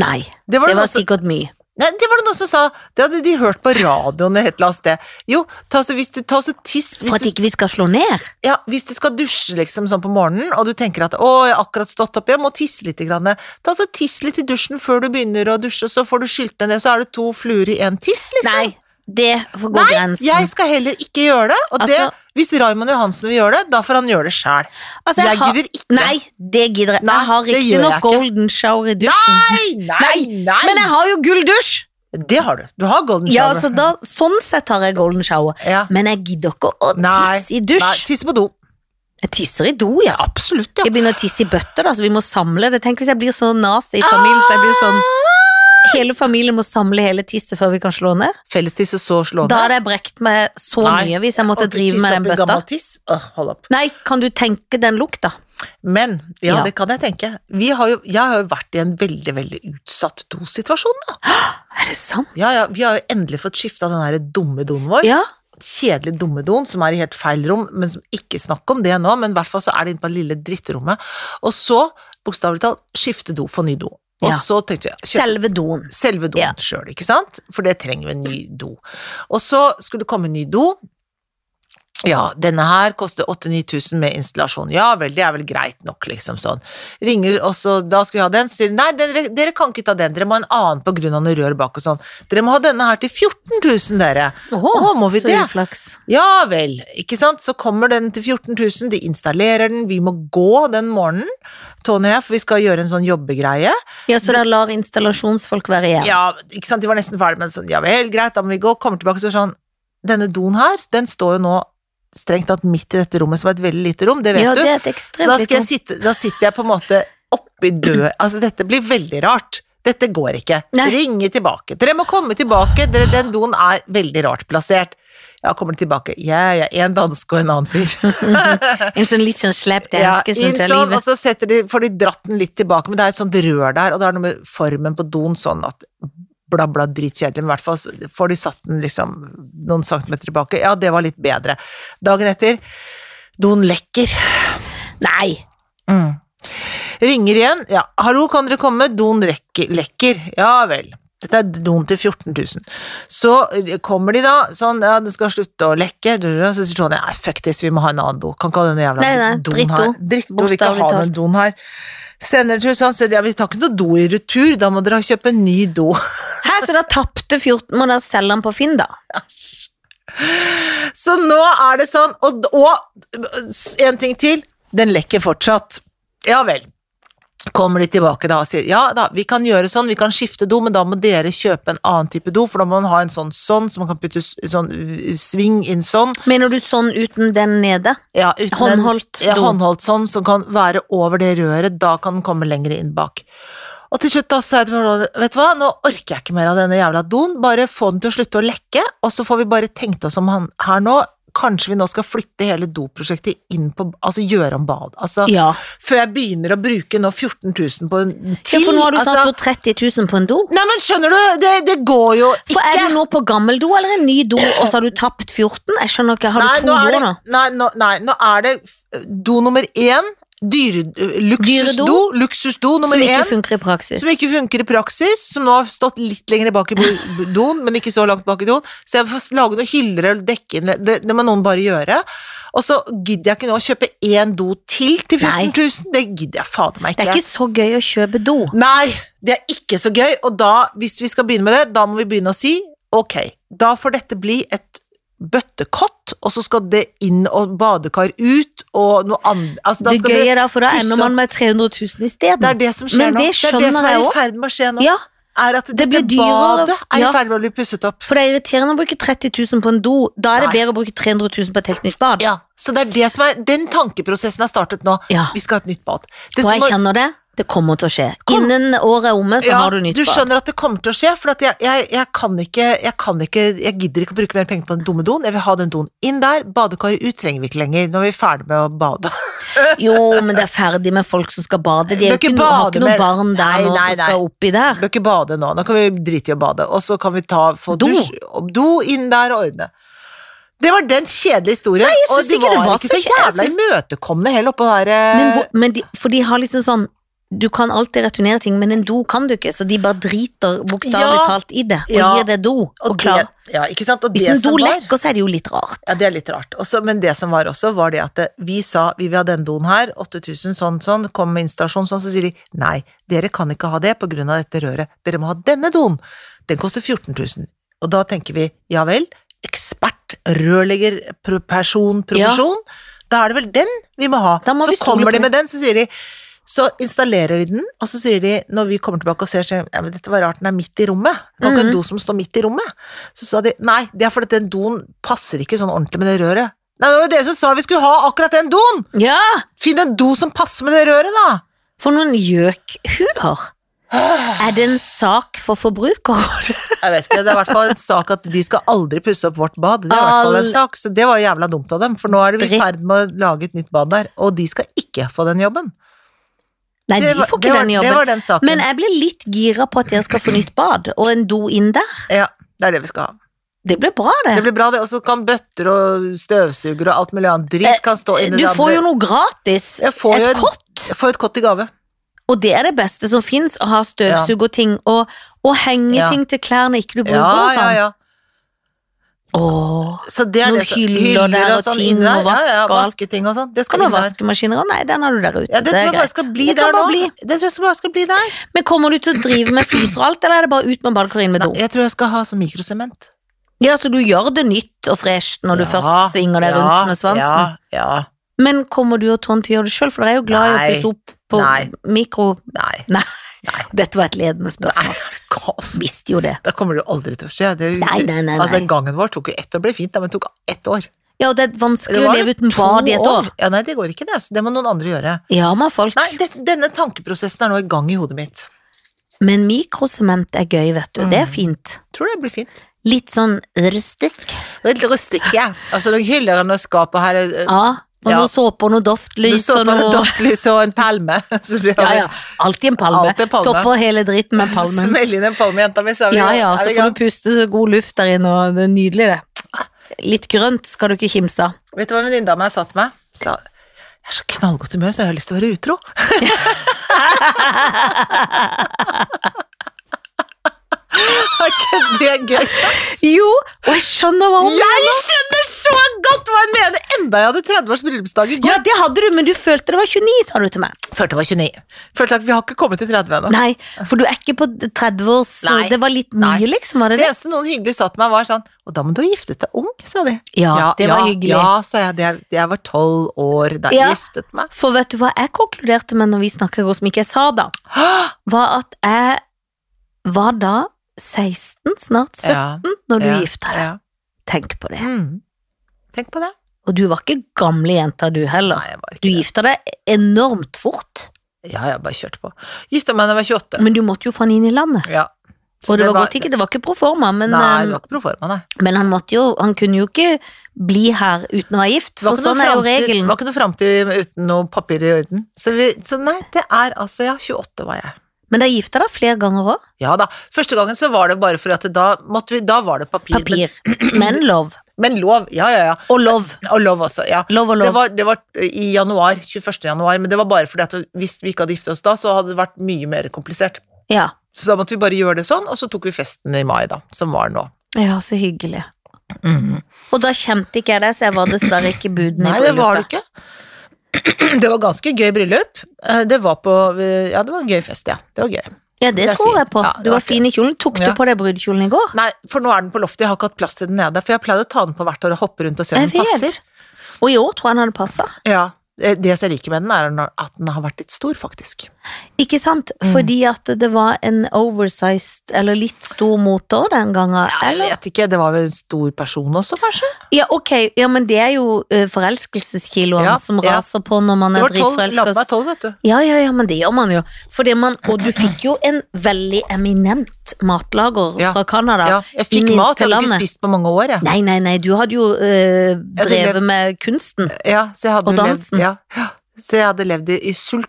[SPEAKER 1] Nei,
[SPEAKER 2] Det var,
[SPEAKER 1] det
[SPEAKER 2] det, noen
[SPEAKER 1] var
[SPEAKER 2] som,
[SPEAKER 1] sikkert mye.
[SPEAKER 2] nei, det var det noen som sa. Det hadde de hørt på radioen et eller annet sted. Jo, ta så, hvis du, ta så tiss
[SPEAKER 1] For
[SPEAKER 2] hvis
[SPEAKER 1] at
[SPEAKER 2] du,
[SPEAKER 1] ikke vi skal slå ned.
[SPEAKER 2] ja, hvis du skal dusje liksom sånn på morgenen, og du tenker at 'å, jeg har akkurat stått opp, jeg må tisse litt', grann. ta så tiss litt i dusjen før du begynner å dusje, så får du skylt deg ned, så er det to fluer i én tiss, liksom.
[SPEAKER 1] Nei, det får gå grensen.
[SPEAKER 2] Jeg skal heller ikke gjøre det, og
[SPEAKER 1] Altså-
[SPEAKER 2] det, hvis Raymond Johansen vil gjøre det, da får han gjøre det sjæl.
[SPEAKER 1] Altså,
[SPEAKER 2] jeg
[SPEAKER 1] har-
[SPEAKER 2] gidder ikke.
[SPEAKER 1] Nei, det gidder jeg.
[SPEAKER 2] Nei,
[SPEAKER 1] Jeg har
[SPEAKER 2] det gjør jeg
[SPEAKER 1] riktignok
[SPEAKER 2] ikke.
[SPEAKER 1] golden shower i dusjen.
[SPEAKER 2] Nei, nei, nei!
[SPEAKER 1] Men jeg har jo gulldusj!
[SPEAKER 2] Det har du. Du har golden
[SPEAKER 1] Ja,
[SPEAKER 2] shower.
[SPEAKER 1] altså da, sånn sett har jeg golden shower.
[SPEAKER 2] Ja.
[SPEAKER 1] Men jeg gidder ikke å
[SPEAKER 2] Nei,
[SPEAKER 1] tisse i
[SPEAKER 2] Nei,
[SPEAKER 1] dusj.
[SPEAKER 2] tisse på do.
[SPEAKER 1] Jeg tisser i do, ja.
[SPEAKER 2] Absolutt, ja.
[SPEAKER 1] Jeg begynner å tisse i bøtter, da, så vi må samle det. Tenk hvis jeg blir så nazi i familien. at Jeg blir sånn Hele familien må samle hele tisset før vi kan slå ned.
[SPEAKER 2] Fellestisse så slå
[SPEAKER 1] Da hadde jeg brekt meg så
[SPEAKER 2] Sånn, Nei.
[SPEAKER 1] mye hvis jeg måtte
[SPEAKER 2] Og du
[SPEAKER 1] drive
[SPEAKER 2] tisser
[SPEAKER 1] med den
[SPEAKER 2] opp i
[SPEAKER 1] bøtta.
[SPEAKER 2] gammel tiss. Åh, hold opp.
[SPEAKER 1] Nei, kan du tenke den lukta?
[SPEAKER 2] Men, ja,
[SPEAKER 1] Ja.
[SPEAKER 2] det kan jeg tenke. Vi har jo, jeg har jo vært i en veldig, veldig utsatt dosituasjon, da.
[SPEAKER 1] Er det sant?
[SPEAKER 2] Ja, ja, vi har jo endelig fått skifta den her dumme doen vår.
[SPEAKER 1] Ja.
[SPEAKER 2] Kjedelig dumme doen som er i helt feil rom, men som ikke snakker om det nå, men i hvert fall så er det inne på det lille dritterommet. Og så, bokstavelig talt, skifte do for ny do. Og
[SPEAKER 1] Ja.
[SPEAKER 2] så tenkte vi kjøp
[SPEAKER 1] Selve doen.
[SPEAKER 2] selve doen
[SPEAKER 1] Ja.
[SPEAKER 2] sjøl, ikke sant? For det trenger vi en ny do. Og så skulle det komme en ny do. Ja, denne her koster 8000-9000 med installasjon. Ja vel, det er vel greit nok, liksom sånn. Ringer også, da skal vi ha den, så sier de nei, dere, dere kan ikke ta den, dere må ha en annen på grunn av noe rør bak og sånn. Dere må ha denne her til 14 000, dere. Å, må vi
[SPEAKER 1] så
[SPEAKER 2] det?
[SPEAKER 1] uflaks.
[SPEAKER 2] Ja vel, ikke sant? Så kommer den til 14 000, de installerer den, vi må gå den morgenen, Tony og jeg, for vi skal gjøre en sånn jobbegreie.
[SPEAKER 1] Ja, så da lar installasjonsfolk være igjen.
[SPEAKER 2] Ja, ikke sant, de var nesten ferdig med det, sånn, ja vel, greit, da må vi gå, kommer tilbake og så er det sånn, denne doen her, den står jo nå strengt tatt midt i dette rommet, som er et veldig lite rom, det vet
[SPEAKER 1] Ja,
[SPEAKER 2] du.
[SPEAKER 1] det er et
[SPEAKER 2] Så da,
[SPEAKER 1] ekstremt
[SPEAKER 2] skal jeg sitte, da sitter jeg på en måte oppi død, altså dette blir veldig rart. Dette går ikke.
[SPEAKER 1] Nei.
[SPEAKER 2] Ringe tilbake. Dere må komme tilbake, dere, den doen er veldig rart plassert. Ja, kommer de tilbake. Ja, ja, en dansk og en annen fyr.
[SPEAKER 1] En sånn litt sånn slep danske,
[SPEAKER 2] inn
[SPEAKER 1] syns jeg,
[SPEAKER 2] sånn, og
[SPEAKER 1] livet.
[SPEAKER 2] så setter de, får de dratt den litt tilbake, men det er et sånt rør der, og det er noe med formen på doen sånn at bla, bla, dritkjedelig, men i hvert fall så får de satt den liksom noen centimeter tilbake. Ja, det var litt bedre. Dagen etter, doen lekker.
[SPEAKER 1] Nei!
[SPEAKER 2] Mm. Ringer igjen. Ja, hallo, kan dere komme? Don rekker. lekker. Ja vel. Dette er don til 14 000. Så eh, kommer de da, sånn, ja, det skal slutte å lekke, drrr, så sier Tony, nei, fuck this, vi må ha en annen do. Kan ikke ha denne jævla
[SPEAKER 1] Nei, nei,
[SPEAKER 2] doen
[SPEAKER 1] drittdo.
[SPEAKER 2] her. Drittdo, vi kan ha
[SPEAKER 1] Bokstavelig
[SPEAKER 2] den doen her. Sender til USA, sier de, ja, vi tar ikke noe do i retur, da må dere kjøpe en ny do.
[SPEAKER 1] Hæ, så da tapte 14 Må da selge den på Finn, da?
[SPEAKER 2] Så nå er det sånn, og, og en ting til, den lekker fortsatt. Ja vel. Kommer de tilbake da og sier ja da, vi kan gjøre sånn, vi kan skifte do, men da må dere kjøpe en annen type do, for da må man ha en sånn sånn, så man kan putte s- sånn v- sving inn sånn.
[SPEAKER 1] Mener du sånn uten den nede?
[SPEAKER 2] Ja, uten en-
[SPEAKER 1] Håndholdt
[SPEAKER 2] ja,
[SPEAKER 1] do.
[SPEAKER 2] håndholdt sånn, som kan være over det røret, da kan den komme lenger inn bak. Og til slutt da sa jeg til Bjørn Olav, vet du hva, nå orker jeg ikke mer av denne jævla doen, bare få den til å slutte å lekke, og så får vi bare tenkt oss om han her nå, kanskje vi nå skal flytte hele doprosjektet inn på, altså gjøre om bad, altså,
[SPEAKER 1] Ja.
[SPEAKER 2] før jeg begynner å bruke nå 14 000 på en
[SPEAKER 1] ja
[SPEAKER 2] til,
[SPEAKER 1] for nå har du
[SPEAKER 2] altså,
[SPEAKER 1] snart brukt 30 000 på en do.
[SPEAKER 2] Nei, men skjønner du, det, det går jo ikke.
[SPEAKER 1] For er du nå på gammel do eller en ny do, og så har du tapt 14? Jeg skjønner ikke, har du to
[SPEAKER 2] nå er
[SPEAKER 1] doer
[SPEAKER 2] det,
[SPEAKER 1] nå?
[SPEAKER 2] Nei, nå, nei, nå er det f- do nummer én, dyre, øh, luksusdo,
[SPEAKER 1] Dyredo.
[SPEAKER 2] luksusdo nummer
[SPEAKER 1] Som ikke
[SPEAKER 2] én.
[SPEAKER 1] funker i praksis.
[SPEAKER 2] Som ikke funker i praksis, som nå har stått litt lenger bak i bo- doen, men ikke så langt bak i doen. Så jeg får lage noen hyller eller dekke inn, det, det må noen bare gjøre. Og så gidder jeg ikke nå å kjøpe én do til til
[SPEAKER 1] Nei.
[SPEAKER 2] 14 000, det gidder jeg fader meg
[SPEAKER 1] Det er ikke så gøy å kjøpe do.
[SPEAKER 2] Nei, det er ikke så gøy, og da, hvis vi skal begynne med det, da må vi begynne å si ok, da får dette bli et bøttekott, og så skal det inn og badekar ut og noe annet altså, da
[SPEAKER 1] Det
[SPEAKER 2] skal
[SPEAKER 1] gøye
[SPEAKER 2] det,
[SPEAKER 1] er da, for da
[SPEAKER 2] pusse
[SPEAKER 1] ender
[SPEAKER 2] opp.
[SPEAKER 1] man med 300 000
[SPEAKER 2] det er
[SPEAKER 1] isteden.
[SPEAKER 2] det som skjer
[SPEAKER 1] Men
[SPEAKER 2] nå.
[SPEAKER 1] det
[SPEAKER 2] Det er det som
[SPEAKER 1] skjønner
[SPEAKER 2] er
[SPEAKER 1] jeg
[SPEAKER 2] i
[SPEAKER 1] også.
[SPEAKER 2] ferd med å skje nå.
[SPEAKER 1] Ja,
[SPEAKER 2] er at
[SPEAKER 1] Det blir
[SPEAKER 2] dette
[SPEAKER 1] dyrere,
[SPEAKER 2] badet er i
[SPEAKER 1] ja.
[SPEAKER 2] ferd med å bli pusset opp.
[SPEAKER 1] For det er irriterende å bruke 30 000 på en do. Da er det
[SPEAKER 2] Nei.
[SPEAKER 1] bedre å bruke 300 000 på et helt nytt bad.
[SPEAKER 2] Ja, så det er det som er Den tankeprosessen er startet nå.
[SPEAKER 1] Ja.
[SPEAKER 2] Vi skal ha et nytt bad. Det
[SPEAKER 1] Og
[SPEAKER 2] som
[SPEAKER 1] jeg
[SPEAKER 2] var-
[SPEAKER 1] kjenner det. Det kommer til å skje.
[SPEAKER 2] Kom.
[SPEAKER 1] Innen året er omme, så
[SPEAKER 2] ja,
[SPEAKER 1] har du nytt
[SPEAKER 2] du
[SPEAKER 1] bad.
[SPEAKER 2] skjønner at det kommer til å skje, for at jeg, jeg, jeg kan ikke jeg, kan ikke jeg gidder ikke å bruke mer penger på den dumme doen. Jeg vil ha den doen inn der. Badekar ut trenger vi ikke lenger. Nå er vi ferdig med å bade.
[SPEAKER 1] Jo, men det er ferdig med folk som skal bade. De
[SPEAKER 2] Bør
[SPEAKER 1] er jo ikke,
[SPEAKER 2] ikke
[SPEAKER 1] no- har
[SPEAKER 2] bade
[SPEAKER 1] ikke noen
[SPEAKER 2] mer.
[SPEAKER 1] barn der
[SPEAKER 2] Nei,
[SPEAKER 1] nå
[SPEAKER 2] nei,
[SPEAKER 1] som skal
[SPEAKER 2] nei.
[SPEAKER 1] oppi der.
[SPEAKER 2] Vi kan ikke bade nå. Nå kan vi drite i å bade. Og så kan vi ta, få
[SPEAKER 1] Do.
[SPEAKER 2] dusj og do inn der og ordne. Det var den kjedelige historien. Nei,
[SPEAKER 1] synes
[SPEAKER 2] og de
[SPEAKER 1] ikke det
[SPEAKER 2] var,
[SPEAKER 1] var
[SPEAKER 2] ikke
[SPEAKER 1] så
[SPEAKER 2] så
[SPEAKER 1] kje- jeg
[SPEAKER 2] jævla
[SPEAKER 1] synes-
[SPEAKER 2] imøtekommende heller oppå der. eh,
[SPEAKER 1] Men, hvor- men de, for de har liksom sånn Du kan alltid returnere ting, men en do kan du ikke, så de bare driter bokstavelig
[SPEAKER 2] Ja.
[SPEAKER 1] talt i det og
[SPEAKER 2] Ja.
[SPEAKER 1] gir det do. Og,
[SPEAKER 2] eh, og det,
[SPEAKER 1] klar.
[SPEAKER 2] ja, ikke sant? Og
[SPEAKER 1] Hvis
[SPEAKER 2] det
[SPEAKER 1] en do
[SPEAKER 2] som var-
[SPEAKER 1] lekker, så er det jo litt rart.
[SPEAKER 2] Ja, det er litt rart. Også, men det som var også, var det at eh, vi sa vi vil ha den doen her, 8000 sånn sånn, kom med installasjon sånn, så sier de nei, dere kan ikke ha det på grunn av dette røret, dere må ha denne doen. Den koster 14 000. Og da tenker vi ja vel, ekspert, rørlegger, pro- person, profesjon, da er det vel den vi må ha.
[SPEAKER 1] Da må
[SPEAKER 2] så
[SPEAKER 1] vi stole på
[SPEAKER 2] kommer de
[SPEAKER 1] det.
[SPEAKER 2] med den, så sier de så installerer de den, og så sier de, når vi kommer tilbake og ser, så sier de, ja, men dette var rart, den er midt i rommet. Du kan ikke ha
[SPEAKER 1] Mm.
[SPEAKER 2] en do som står midt i rommet. Så sa de, nei, det er fordi den doen passer ikke sånn ordentlig med det røret. Nei, men det var dere som sa vi skulle ha akkurat den doen!
[SPEAKER 1] Ja!
[SPEAKER 2] Finn en do som passer med det røret, da!
[SPEAKER 1] For noen gjøkhuer! Er det en sak for forbrukerrådet?
[SPEAKER 2] Jeg vet ikke, det er i hvert fall en sak at de skal aldri pusse opp vårt bad. Det er i hvert fall en
[SPEAKER 1] Al-
[SPEAKER 2] sak, så det var jævla dumt av dem, for nå er det vi i
[SPEAKER 1] Dritt.
[SPEAKER 2] ferd med å lage et nytt bad der, og de skal ikke få den jobben.
[SPEAKER 1] Nei,
[SPEAKER 2] det
[SPEAKER 1] de
[SPEAKER 2] var,
[SPEAKER 1] får
[SPEAKER 2] det
[SPEAKER 1] ikke
[SPEAKER 2] var,
[SPEAKER 1] den
[SPEAKER 2] Det
[SPEAKER 1] jobben.
[SPEAKER 2] var den saken.
[SPEAKER 1] Men jeg blir litt gira på at dere skal få nytt bad, og en do inn der.
[SPEAKER 2] Ja, det er det vi skal ha.
[SPEAKER 1] Det blir bra, det.
[SPEAKER 2] Det blir bra, det. Og så kan bøtter og støvsugere og alt mulig annet
[SPEAKER 1] Eh,
[SPEAKER 2] dritt kan stå inni
[SPEAKER 1] du
[SPEAKER 2] det
[SPEAKER 1] får
[SPEAKER 2] andre.
[SPEAKER 1] jo noe gratis.
[SPEAKER 2] Jeg får jo
[SPEAKER 1] Et
[SPEAKER 2] en-
[SPEAKER 1] kott.
[SPEAKER 2] Jeg får et kott i gave.
[SPEAKER 1] Og det er det beste som fins, å ha støvsugerting og, og henge
[SPEAKER 2] Ja.
[SPEAKER 1] ting til klærne ikke du bruker
[SPEAKER 2] Ja,
[SPEAKER 1] og
[SPEAKER 2] ja,
[SPEAKER 1] sånn.
[SPEAKER 2] ja.
[SPEAKER 1] Åh,
[SPEAKER 2] Så det er
[SPEAKER 1] Noen
[SPEAKER 2] det som-
[SPEAKER 1] hyller der, og
[SPEAKER 2] sånn
[SPEAKER 1] ting
[SPEAKER 2] inni
[SPEAKER 1] og vask
[SPEAKER 2] ja, ja,
[SPEAKER 1] og alt.
[SPEAKER 2] vasketing og sånn. Det skal
[SPEAKER 1] Skal du
[SPEAKER 2] inn
[SPEAKER 1] ha
[SPEAKER 2] der.
[SPEAKER 1] vaskemaskiner? Nei, den har du der ute.
[SPEAKER 2] Ja, det,
[SPEAKER 1] er
[SPEAKER 2] tror jeg bare
[SPEAKER 1] greit.
[SPEAKER 2] skal bli
[SPEAKER 1] Det kan
[SPEAKER 2] der
[SPEAKER 1] bare
[SPEAKER 2] nå.
[SPEAKER 1] bli.
[SPEAKER 2] Det tror jeg skal bare skal bli der.
[SPEAKER 1] Men kommer du til å drive med fliser og alt, eller er det bare ut med badekaret inn med
[SPEAKER 2] Nei,
[SPEAKER 1] do?
[SPEAKER 2] jeg tror jeg skal ha sånn mikrosement.
[SPEAKER 1] Ja, så du gjør det nytt og fresht når du
[SPEAKER 2] Ja,
[SPEAKER 1] først svinger deg
[SPEAKER 2] ja,
[SPEAKER 1] rundt med svansen.
[SPEAKER 2] Ja, ja.
[SPEAKER 1] Men kommer du og Trond til å gjøre det sjøl, for dere er jo glad i å
[SPEAKER 2] Nei.
[SPEAKER 1] pusse opp på
[SPEAKER 2] Nei.
[SPEAKER 1] mikro...
[SPEAKER 2] Nei.
[SPEAKER 1] Nei.
[SPEAKER 2] Nei.
[SPEAKER 1] Dette var et ledende
[SPEAKER 2] Nei,
[SPEAKER 1] spørsmål.
[SPEAKER 2] er du gal?
[SPEAKER 1] Visste jo det.
[SPEAKER 2] Da kommer det jo aldri til å skje. Det er jo,
[SPEAKER 1] Nei, nei, nei.
[SPEAKER 2] Altså,
[SPEAKER 1] nei.
[SPEAKER 2] den gangen vår tok jo ett år, ble fint, da, men det tok ett år.
[SPEAKER 1] Ja, og det er vanskelig å
[SPEAKER 2] var
[SPEAKER 1] leve uten
[SPEAKER 2] to
[SPEAKER 1] bad i et år.
[SPEAKER 2] Ja, nei, det går ikke, det. Så det må noen andre gjøre.
[SPEAKER 1] Ja, men folk.
[SPEAKER 2] Nei, det, denne tankeprosessen er nå i gang i hodet mitt.
[SPEAKER 1] Men mikrosement er gøy, vet du. Det er
[SPEAKER 2] Mm.
[SPEAKER 1] fint.
[SPEAKER 2] Tror det blir fint.
[SPEAKER 1] Litt sånn rustikk.
[SPEAKER 2] Litt rustikk, ja. Altså, noen hyller og noe skap og her er eh,
[SPEAKER 1] Ja. Og
[SPEAKER 2] Ja.
[SPEAKER 1] noe såpe og noe
[SPEAKER 2] du
[SPEAKER 1] doftlys
[SPEAKER 2] står
[SPEAKER 1] og
[SPEAKER 2] på en
[SPEAKER 1] noe
[SPEAKER 2] doftlys og en palme. Så blir det
[SPEAKER 1] Ja, ja. Alltid en palme.
[SPEAKER 2] Alltid en palme.
[SPEAKER 1] Topper hele dritten med palmen.
[SPEAKER 2] Smell inn en palme, jenta mi, sa vi.
[SPEAKER 1] Ja, ja,
[SPEAKER 2] Er
[SPEAKER 1] så
[SPEAKER 2] vi i
[SPEAKER 1] får
[SPEAKER 2] gang?
[SPEAKER 1] du puste så god luft der inne, og det er nydelig, det. Litt grønt skal du ikke kimse av.
[SPEAKER 2] Vet du hva venninna mi sa til meg? Sa jeg er så knallgodt humør, så jeg har lyst til å være utro. Er ikke det gøy?
[SPEAKER 1] Jo, og jeg skjønner hva hun
[SPEAKER 2] Jeg skjønner så godt hva hun mener! Enda jeg hadde 30 års bryllupsdag i går.
[SPEAKER 1] Ja, det hadde du, men du følte det var 29, sa du til meg.
[SPEAKER 2] Følte jeg var 29. Følte at vi har ikke kommet til 30 ennå.
[SPEAKER 1] Nei, for du er ikke på 30 års
[SPEAKER 2] Nei.
[SPEAKER 1] Det var litt mye,
[SPEAKER 2] Nei.
[SPEAKER 1] liksom, var det
[SPEAKER 2] Det
[SPEAKER 1] det?
[SPEAKER 2] eneste noen hyggelig sa til meg, var sånn Og da må du ha giftet deg ung, sa de.
[SPEAKER 1] Ja, det var
[SPEAKER 2] ja,
[SPEAKER 1] hyggelig.
[SPEAKER 2] Ja, sa jeg. Det, jeg var tolv år da jeg
[SPEAKER 1] Ja.
[SPEAKER 2] giftet meg.
[SPEAKER 1] For vet du hva jeg konkluderte med når vi snakket i går, som ikke jeg sa da?
[SPEAKER 2] Hå!
[SPEAKER 1] Var at jeg var da 16, snart 17,
[SPEAKER 2] Ja,
[SPEAKER 1] når du
[SPEAKER 2] ja,
[SPEAKER 1] gifta deg.
[SPEAKER 2] ja.
[SPEAKER 1] Tenk på det.
[SPEAKER 2] Mm. Tenk på det.
[SPEAKER 1] Og du var ikke gamle jenta, du heller.
[SPEAKER 2] Nei, jeg var ikke
[SPEAKER 1] Du
[SPEAKER 2] det.
[SPEAKER 1] gifta deg enormt fort,
[SPEAKER 2] Ja, jeg bare kjørte på. Gifta meg da jeg var 28.
[SPEAKER 1] men du måtte jo få han inn i landet.
[SPEAKER 2] Ja.
[SPEAKER 1] Mm.
[SPEAKER 2] Så
[SPEAKER 1] Og det, var, godt ikke, det var ikke proforma, men,
[SPEAKER 2] Nei, det
[SPEAKER 1] eh,
[SPEAKER 2] var ikke proforma, nei.
[SPEAKER 1] men han måtte jo Han kunne jo ikke bli her uten å være gift,
[SPEAKER 2] Det var
[SPEAKER 1] for
[SPEAKER 2] ikke noe
[SPEAKER 1] sånn er jo
[SPEAKER 2] framtid- det
[SPEAKER 1] regelen.
[SPEAKER 2] var ikke noe framtid uten noe papir i orden. Så, vi, så nei, det er altså Ja, 28 var jeg.
[SPEAKER 1] Men dere gifta deg flere ganger òg.
[SPEAKER 2] Ja da. Første gangen så var det bare for at da måtte vi Da var det papir. men-
[SPEAKER 1] Papir. Men lov.
[SPEAKER 2] Men lov, ja, ja, ja.
[SPEAKER 1] Og lov.
[SPEAKER 2] Og lov også, ja.
[SPEAKER 1] Lov og
[SPEAKER 2] Det
[SPEAKER 1] lov.
[SPEAKER 2] var, det var eh, i januar, 21. januar, men det var bare fordi at hvis vi ikke hadde giftet oss da, så hadde det vært mye mer komplisert.
[SPEAKER 1] Ja.
[SPEAKER 2] Så da måtte vi bare gjøre det sånn, og så tok vi festen i mai, da, som var nå.
[SPEAKER 1] ja, så hyggelig. Og da kjente ikke jeg deg, så jeg var dessverre ikke buden i
[SPEAKER 2] Mhm. Nei, det var det
[SPEAKER 1] bryllupet.
[SPEAKER 2] ikke. Det var ganske gøy bryllup. Eh, Det var på eh, Ja, det var en gøy fest, ja. Det var gøy.
[SPEAKER 1] Ja, det
[SPEAKER 2] Jeg
[SPEAKER 1] tror
[SPEAKER 2] sier-
[SPEAKER 1] jeg på.
[SPEAKER 2] Ja, det
[SPEAKER 1] Du
[SPEAKER 2] var
[SPEAKER 1] var fin i kjolen. Tok du
[SPEAKER 2] Ja.
[SPEAKER 1] på deg brudekjolen i går?
[SPEAKER 2] Nei, for nå er den på loftet, jeg har ikke hatt plass til den nede. For jeg pleide å ta den på hvert år og hoppe rundt og se om
[SPEAKER 1] Jeg
[SPEAKER 2] den passer.
[SPEAKER 1] vet. Og i år tror jeg han hadde passa.
[SPEAKER 2] Ja, Eh, Det som jeg liker med den, er når- at den har vært litt stor, faktisk.
[SPEAKER 1] Ikke sant?
[SPEAKER 2] Mm.
[SPEAKER 1] Fordi at det var en oversized, eller litt stor motor den gangen.
[SPEAKER 2] Jeg
[SPEAKER 1] Eller?
[SPEAKER 2] vet ikke, det var vel en stor person også, kanskje?
[SPEAKER 1] Ja, ok, ja, men det er jo ø, forelskelseskiloene
[SPEAKER 2] Ja,
[SPEAKER 1] som
[SPEAKER 2] ja.
[SPEAKER 1] raser på når man
[SPEAKER 2] Det
[SPEAKER 1] er
[SPEAKER 2] var tolv, lammet er
[SPEAKER 1] dritforelska.
[SPEAKER 2] tolv, vet du.
[SPEAKER 1] Ja, ja, ja, men det gjør man jo. Fordi man, og du fikk jo en veldig eminent matlager
[SPEAKER 2] Ja.
[SPEAKER 1] fra Canada.
[SPEAKER 2] Ja, jeg
[SPEAKER 1] inn
[SPEAKER 2] fikk
[SPEAKER 1] til
[SPEAKER 2] mat, jeg hadde
[SPEAKER 1] landet.
[SPEAKER 2] ikke spist på mange år, jeg.
[SPEAKER 1] Nei, nei, nei, du hadde jo ø, drevet med kunsten.
[SPEAKER 2] Ja, så jeg hadde
[SPEAKER 1] Og
[SPEAKER 2] jo
[SPEAKER 1] dansen.
[SPEAKER 2] Levd, ja, ja. Så jeg hadde levd i, i sult.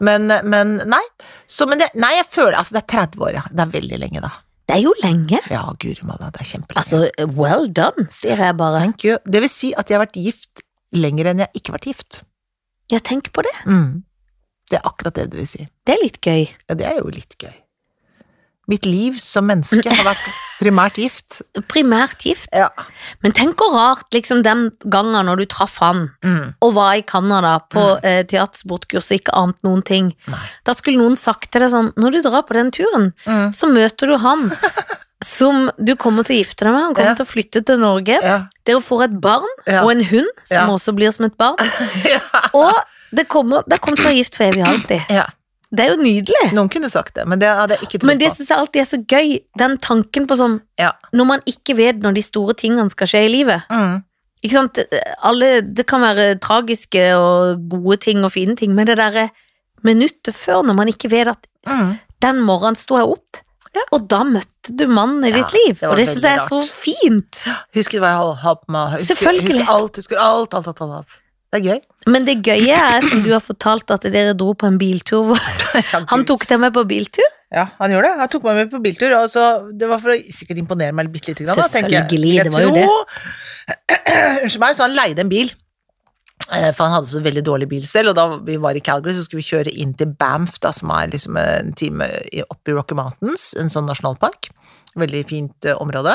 [SPEAKER 2] Men, men nei. Så, men det, nei, jeg føler Altså, det er 30 år, ja. Det er veldig lenge, da.
[SPEAKER 1] Det er jo lenge.
[SPEAKER 2] Ja, guri malla, det er kjempelenge.
[SPEAKER 1] Altså, well done, sier jeg bare.
[SPEAKER 2] Thank you. Det vil si at jeg har vært gift lenger enn jeg ikke har vært gift. Mm.
[SPEAKER 1] Ja, tenk på det.
[SPEAKER 2] Det er akkurat det det vil si.
[SPEAKER 1] Det er litt gøy.
[SPEAKER 2] Ja, det er jo litt gøy. Mitt liv som menneske har vært primært gift.
[SPEAKER 1] Primært gift.
[SPEAKER 2] Ja.
[SPEAKER 1] Men tenk hvor rart liksom den gangen når du traff han
[SPEAKER 2] Mm.
[SPEAKER 1] og var i Canada på eh, teatersportkurs og ikke ant noen ting.
[SPEAKER 2] Nei.
[SPEAKER 1] Da skulle noen sagt til deg sånn Når du drar på den turen,
[SPEAKER 2] Mm.
[SPEAKER 1] så møter du han som du kommer til å gifte deg med. Han kommer
[SPEAKER 2] Ja.
[SPEAKER 1] til å flytte til Norge.
[SPEAKER 2] Ja.
[SPEAKER 1] Dere får et barn
[SPEAKER 2] Ja.
[SPEAKER 1] og en hund, som
[SPEAKER 2] Ja.
[SPEAKER 1] også blir som et barn.
[SPEAKER 2] ja.
[SPEAKER 1] Og det kommer, det kommer til å være gift for evig og alltid.
[SPEAKER 2] ja.
[SPEAKER 1] Det er jo nydelig.
[SPEAKER 2] Noen kunne sagt det, men det hadde jeg ikke
[SPEAKER 1] Men
[SPEAKER 2] trodd
[SPEAKER 1] det
[SPEAKER 2] på.
[SPEAKER 1] syns jeg alltid er så gøy, den tanken på sånn
[SPEAKER 2] Ja.
[SPEAKER 1] Når man ikke vet når de store tingene skal skje i livet.
[SPEAKER 2] Mm.
[SPEAKER 1] Ikke sant? Alle, det kan være tragiske og gode ting og fine ting, men det derre minuttet før, når man ikke vet at
[SPEAKER 2] Mm.
[SPEAKER 1] den morgenen sto jeg opp,
[SPEAKER 2] Ja.
[SPEAKER 1] og da møtte du mannen i
[SPEAKER 2] Ja,
[SPEAKER 1] ditt liv,
[SPEAKER 2] det var
[SPEAKER 1] og det syns jeg er
[SPEAKER 2] veldig
[SPEAKER 1] så
[SPEAKER 2] rart.
[SPEAKER 1] fint.
[SPEAKER 2] Husker hva jeg hal- har på meg. Husker,
[SPEAKER 1] Selvfølgelig.
[SPEAKER 2] Husker alt, husker alt, alt, alt, alt, alt. Det er gøy.
[SPEAKER 1] Men det gøye er, som du har fortalt, at dere dro på en biltur. hvor-
[SPEAKER 2] Ja,
[SPEAKER 1] Han
[SPEAKER 2] Gud.
[SPEAKER 1] tok deg med på biltur?
[SPEAKER 2] Ja, han gjorde det. Han tok meg med på biltur, og så det var for å sikkert imponere meg bitte lite grann. da, tenker jeg.
[SPEAKER 1] Selvfølgelig,
[SPEAKER 2] Jeg
[SPEAKER 1] det var jo
[SPEAKER 2] tror- Unnskyld meg, så han leide en bil. eh, For han hadde så veldig dårlig bil selv, og da vi var i Calgary, så skulle vi kjøre inn til Banff, da, som er liksom en time i- oppe i Rocky Mountains, en sånn nasjonalpark. Veldig fint eh, område.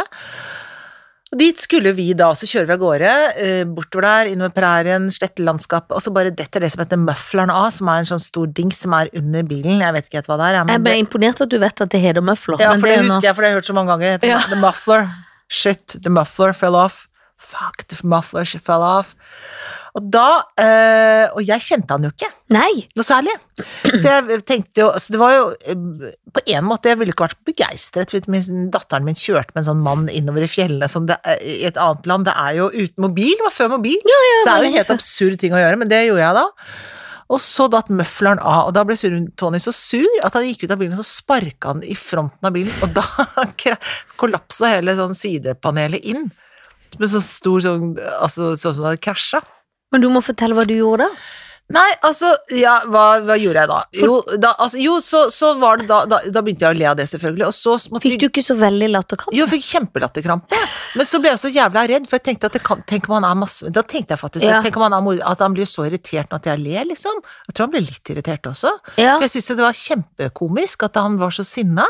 [SPEAKER 2] Og dit skulle vi da, så kjører vi av gårde, eh, bortover der, innover prærien, slettelandskapet, og så bare detter det som heter muffleren av, som er en sånn stor dings som er under bilen, jeg vet ikke helt hva det er. ja, men
[SPEAKER 1] Jeg ble
[SPEAKER 2] det-
[SPEAKER 1] imponert at du vet at det heter møfler.
[SPEAKER 2] ja,
[SPEAKER 1] men
[SPEAKER 2] for
[SPEAKER 1] det
[SPEAKER 2] det
[SPEAKER 1] er jo nå-
[SPEAKER 2] husker jeg, for det har jeg hørt så mange ganger. The,
[SPEAKER 1] Ja.
[SPEAKER 2] the muffler. Shit, the muffler fell off. Fuck, the muffler she fell off. Og da eh, Og jeg kjente han jo ikke
[SPEAKER 1] Nei,
[SPEAKER 2] noe særlig. Så jeg tenkte jo Så det var jo eh, På en måte, jeg ville ikke vært begeistret hvis min, datteren min kjørte med en sånn mann innover i fjellene som det, er i et annet land. Det er jo uten mobil. Det var før mobil. så det er
[SPEAKER 1] det
[SPEAKER 2] jo
[SPEAKER 1] var
[SPEAKER 2] en helt
[SPEAKER 1] før.
[SPEAKER 2] absurd ting å gjøre, men det gjorde jeg da. Og så datt møfleren av, og da ble sur- Tony så sur at han gikk ut av bilen, og så sparka han i fronten av bilen, og da kra- kollapsa hele sånn sidepanelet inn. Med så stor sånn Altså sånn som det hadde krasja.
[SPEAKER 1] men du må fortelle hva du gjorde da.
[SPEAKER 2] Nei, altså, ja, hva, hva gjorde jeg da? Jo, da, altså, jo så, så var det da, da Da begynte jeg å le av det, selvfølgelig. Og så måtte
[SPEAKER 1] Fikk du ikke så veldig latterkramp?
[SPEAKER 2] Jo, jeg fikk kjempelatterkrampe. Men så ble jeg så jævla redd, for jeg tenkte at det kan, tenk om han er masse Da tenkte jeg faktisk
[SPEAKER 1] Ja.
[SPEAKER 2] Tenk om han er mor, at han blir så irritert nå at jeg ler, liksom. Jeg tror han ble litt irritert også.
[SPEAKER 1] Ja.
[SPEAKER 2] For jeg syntes jo det var kjempekomisk at han var så sinna.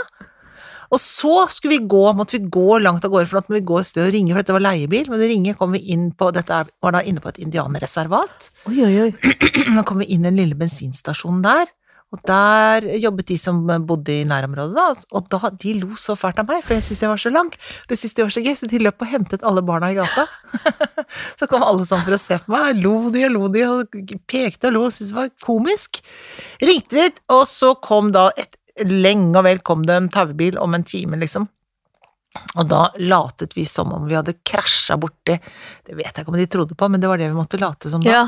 [SPEAKER 2] Og så skulle vi gå, måtte vi gå langt av gårde, for da måtte vi gå et sted og ringe, for dette var leiebil. Men det ringer, kom vi inn på Dette er- var da inne på et indianerreservat.
[SPEAKER 1] Oi, oi, oi.
[SPEAKER 2] Nå kom vi inn i den lille bensinstasjonen der, og der jobbet de som bodde i nærområdet, da, og da, de lo så fælt av meg, for jeg syntes jeg var så lang. Det syntes de var så gøy, så de løp og hentet alle barna i gata. så kom alle sånn for å se på meg, lo de og lo de, og pekte og lo, og syntes det var komisk. Ringte vi, og så kom da et lenge og vel kom det en taubil om en time, liksom. Og da latet vi som om vi hadde krasja borti Det vet jeg ikke om de trodde på, men det var det vi måtte late som da.
[SPEAKER 1] Ja.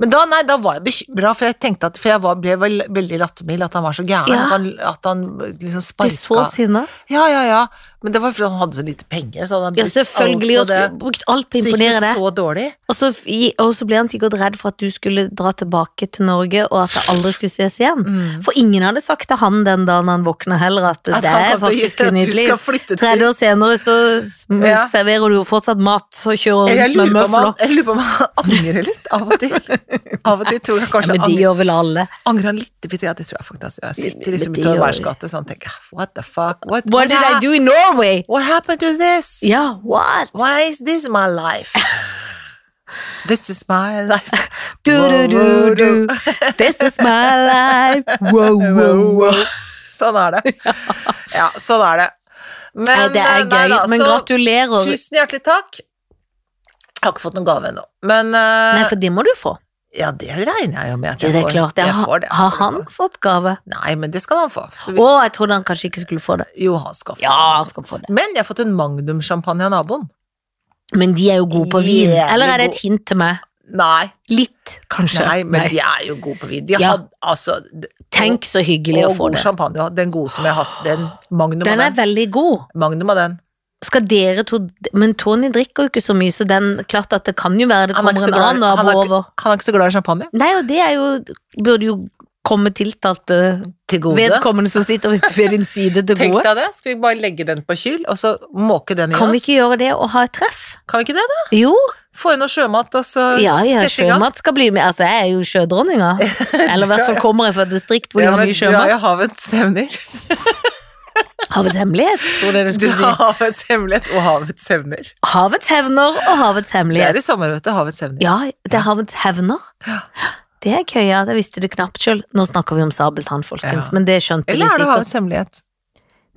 [SPEAKER 2] Men da, nei, da var jeg bekymra, for jeg tenkte at For jeg var, ble vel, veldig lattermild at han var så gæren.
[SPEAKER 1] Ja.
[SPEAKER 2] At, han, at han liksom
[SPEAKER 1] Ble så
[SPEAKER 2] sparka
[SPEAKER 1] sinna.
[SPEAKER 2] Ja, ja, ja. Men det var fordi han hadde så lite penger. Så hadde han
[SPEAKER 1] Ja,
[SPEAKER 2] brukt
[SPEAKER 1] selvfølgelig. Og
[SPEAKER 2] alt på
[SPEAKER 1] skulle brukt alt på å
[SPEAKER 2] det. Så gikk
[SPEAKER 1] imponere
[SPEAKER 2] det
[SPEAKER 1] deg.
[SPEAKER 2] så dårlig.
[SPEAKER 1] Og så, i- og så ble han sikkert redd for at du skulle dra tilbake til Norge, og at det aldri skulle ses igjen. For ingen hadde sagt til han den dagen han våkna heller, at,
[SPEAKER 2] Mm. At
[SPEAKER 1] det
[SPEAKER 2] han
[SPEAKER 1] er
[SPEAKER 2] kom til å
[SPEAKER 1] faktisk
[SPEAKER 2] gjøre at du
[SPEAKER 1] nydelig.
[SPEAKER 2] skal flytte til
[SPEAKER 1] 30 år senere så
[SPEAKER 2] Ja.
[SPEAKER 1] serverer du jo fortsatt mat og kjører
[SPEAKER 2] jeg
[SPEAKER 1] rundt
[SPEAKER 2] lurer,
[SPEAKER 1] med
[SPEAKER 2] på om han,
[SPEAKER 1] møfler.
[SPEAKER 2] jeg lurer på om han angrer litt av og til. Av og til tror jeg
[SPEAKER 1] Ja,
[SPEAKER 2] kanskje
[SPEAKER 1] men de
[SPEAKER 2] angrer,
[SPEAKER 1] gjør vel alle.
[SPEAKER 2] angrer han litt. bitte- Ja, det tror jeg faktisk. Jeg
[SPEAKER 1] Men
[SPEAKER 2] sitter liksom
[SPEAKER 1] de
[SPEAKER 2] i Torvbergs
[SPEAKER 1] gjør-
[SPEAKER 2] gate sånn og tenker What the fuck? What,
[SPEAKER 1] What did I
[SPEAKER 2] ha-
[SPEAKER 1] do in Norway?
[SPEAKER 2] What happened to this?
[SPEAKER 1] Ja, what?
[SPEAKER 2] Why is this my life? This is my life.
[SPEAKER 1] Du, du, du, du. This is my life. Wow, wow, wow.
[SPEAKER 2] Sånn er det. Ja, sånn er det. Men,
[SPEAKER 1] Nei, det er
[SPEAKER 2] eh, nei
[SPEAKER 1] gøy,
[SPEAKER 2] da,
[SPEAKER 1] men
[SPEAKER 2] så
[SPEAKER 1] gratulerer.
[SPEAKER 2] Tusen hjertelig takk. Jeg har ikke fått noen gave ennå, men eh,
[SPEAKER 1] Nei, for det må du få.
[SPEAKER 2] Ja, det regner jeg jo med at
[SPEAKER 1] Ja,
[SPEAKER 2] jeg
[SPEAKER 1] det er
[SPEAKER 2] får.
[SPEAKER 1] klart.
[SPEAKER 2] Jeg
[SPEAKER 1] Jeg har,
[SPEAKER 2] får det, jeg
[SPEAKER 1] har
[SPEAKER 2] får
[SPEAKER 1] han
[SPEAKER 2] det.
[SPEAKER 1] fått gave?
[SPEAKER 2] Nei, men det skal han få. Så
[SPEAKER 1] Å,
[SPEAKER 2] vi,
[SPEAKER 1] jeg trodde han kanskje ikke skulle få det.
[SPEAKER 2] jo, han skal få
[SPEAKER 1] Ja,
[SPEAKER 2] det.
[SPEAKER 1] han
[SPEAKER 2] altså.
[SPEAKER 1] skal få det.
[SPEAKER 2] Men jeg har fått en Magnum-sjampanje av naboen.
[SPEAKER 1] Men de er jo gode på vin.
[SPEAKER 2] Jævlig
[SPEAKER 1] Eller er det
[SPEAKER 2] god.
[SPEAKER 1] et hint til meg?
[SPEAKER 2] Nei,
[SPEAKER 1] Litt, kanskje.
[SPEAKER 2] nei, men de er jo gode på vin. De
[SPEAKER 1] Ja.
[SPEAKER 2] hadde, altså, d-
[SPEAKER 1] Tenk så hyggelig
[SPEAKER 2] og
[SPEAKER 1] å få
[SPEAKER 2] god
[SPEAKER 1] det.
[SPEAKER 2] champagne også. Den gode som jeg har hatt. Den, Magnum
[SPEAKER 1] Den
[SPEAKER 2] av
[SPEAKER 1] er
[SPEAKER 2] den.
[SPEAKER 1] veldig god.
[SPEAKER 2] Magnum av den.
[SPEAKER 1] Skal dere to Men Tony drikker jo ikke så mye, så den klart at det kan jo være det
[SPEAKER 2] Han er ikke
[SPEAKER 1] kommer
[SPEAKER 2] så
[SPEAKER 1] en
[SPEAKER 2] glad-
[SPEAKER 1] annen
[SPEAKER 2] han er
[SPEAKER 1] nabo
[SPEAKER 2] ikke-
[SPEAKER 1] over.
[SPEAKER 2] Han er ikke så glad i champagne.
[SPEAKER 1] Nei, og det er jo Burde jo komme tiltalte
[SPEAKER 2] Til gode.
[SPEAKER 1] vedkommende som sitter ved ved din side, til
[SPEAKER 2] Tenk
[SPEAKER 1] gode.
[SPEAKER 2] deg det. Skal vi bare legge den på kyl, og så måke den i
[SPEAKER 1] Kan vi
[SPEAKER 2] oss?
[SPEAKER 1] ikke gjøre det og ha et treff?
[SPEAKER 2] Kan vi ikke det, da?
[SPEAKER 1] Jo,
[SPEAKER 2] Få inn noe sjømat, og så
[SPEAKER 1] ja, ja,
[SPEAKER 2] sette i gang.
[SPEAKER 1] sjømat skal bli med. Altså, jeg er jo sjødronninga. Eller i hvert fall kommer jeg fra et distrikt hvor de
[SPEAKER 2] Ja,
[SPEAKER 1] har
[SPEAKER 2] men
[SPEAKER 1] mye
[SPEAKER 2] Du har
[SPEAKER 1] sjømat.
[SPEAKER 2] jo havets hevner.
[SPEAKER 1] Havets hemmelighet, tror jeg du
[SPEAKER 2] Du
[SPEAKER 1] skulle si.
[SPEAKER 2] har havets hemmelighet og havets hevner.
[SPEAKER 1] Havets hevner og havets
[SPEAKER 2] Det er
[SPEAKER 1] hemmelighet.
[SPEAKER 2] i sommer, vet du. Havets hevner.
[SPEAKER 1] Ja, det er havets hevner. Det er køya, jeg visste det knapt sjøl. Nå snakker vi om sabeltann, folkens,
[SPEAKER 2] Ja.
[SPEAKER 1] men det skjønte vi
[SPEAKER 2] Eller er det
[SPEAKER 1] sikkert.
[SPEAKER 2] havets hemmelighet?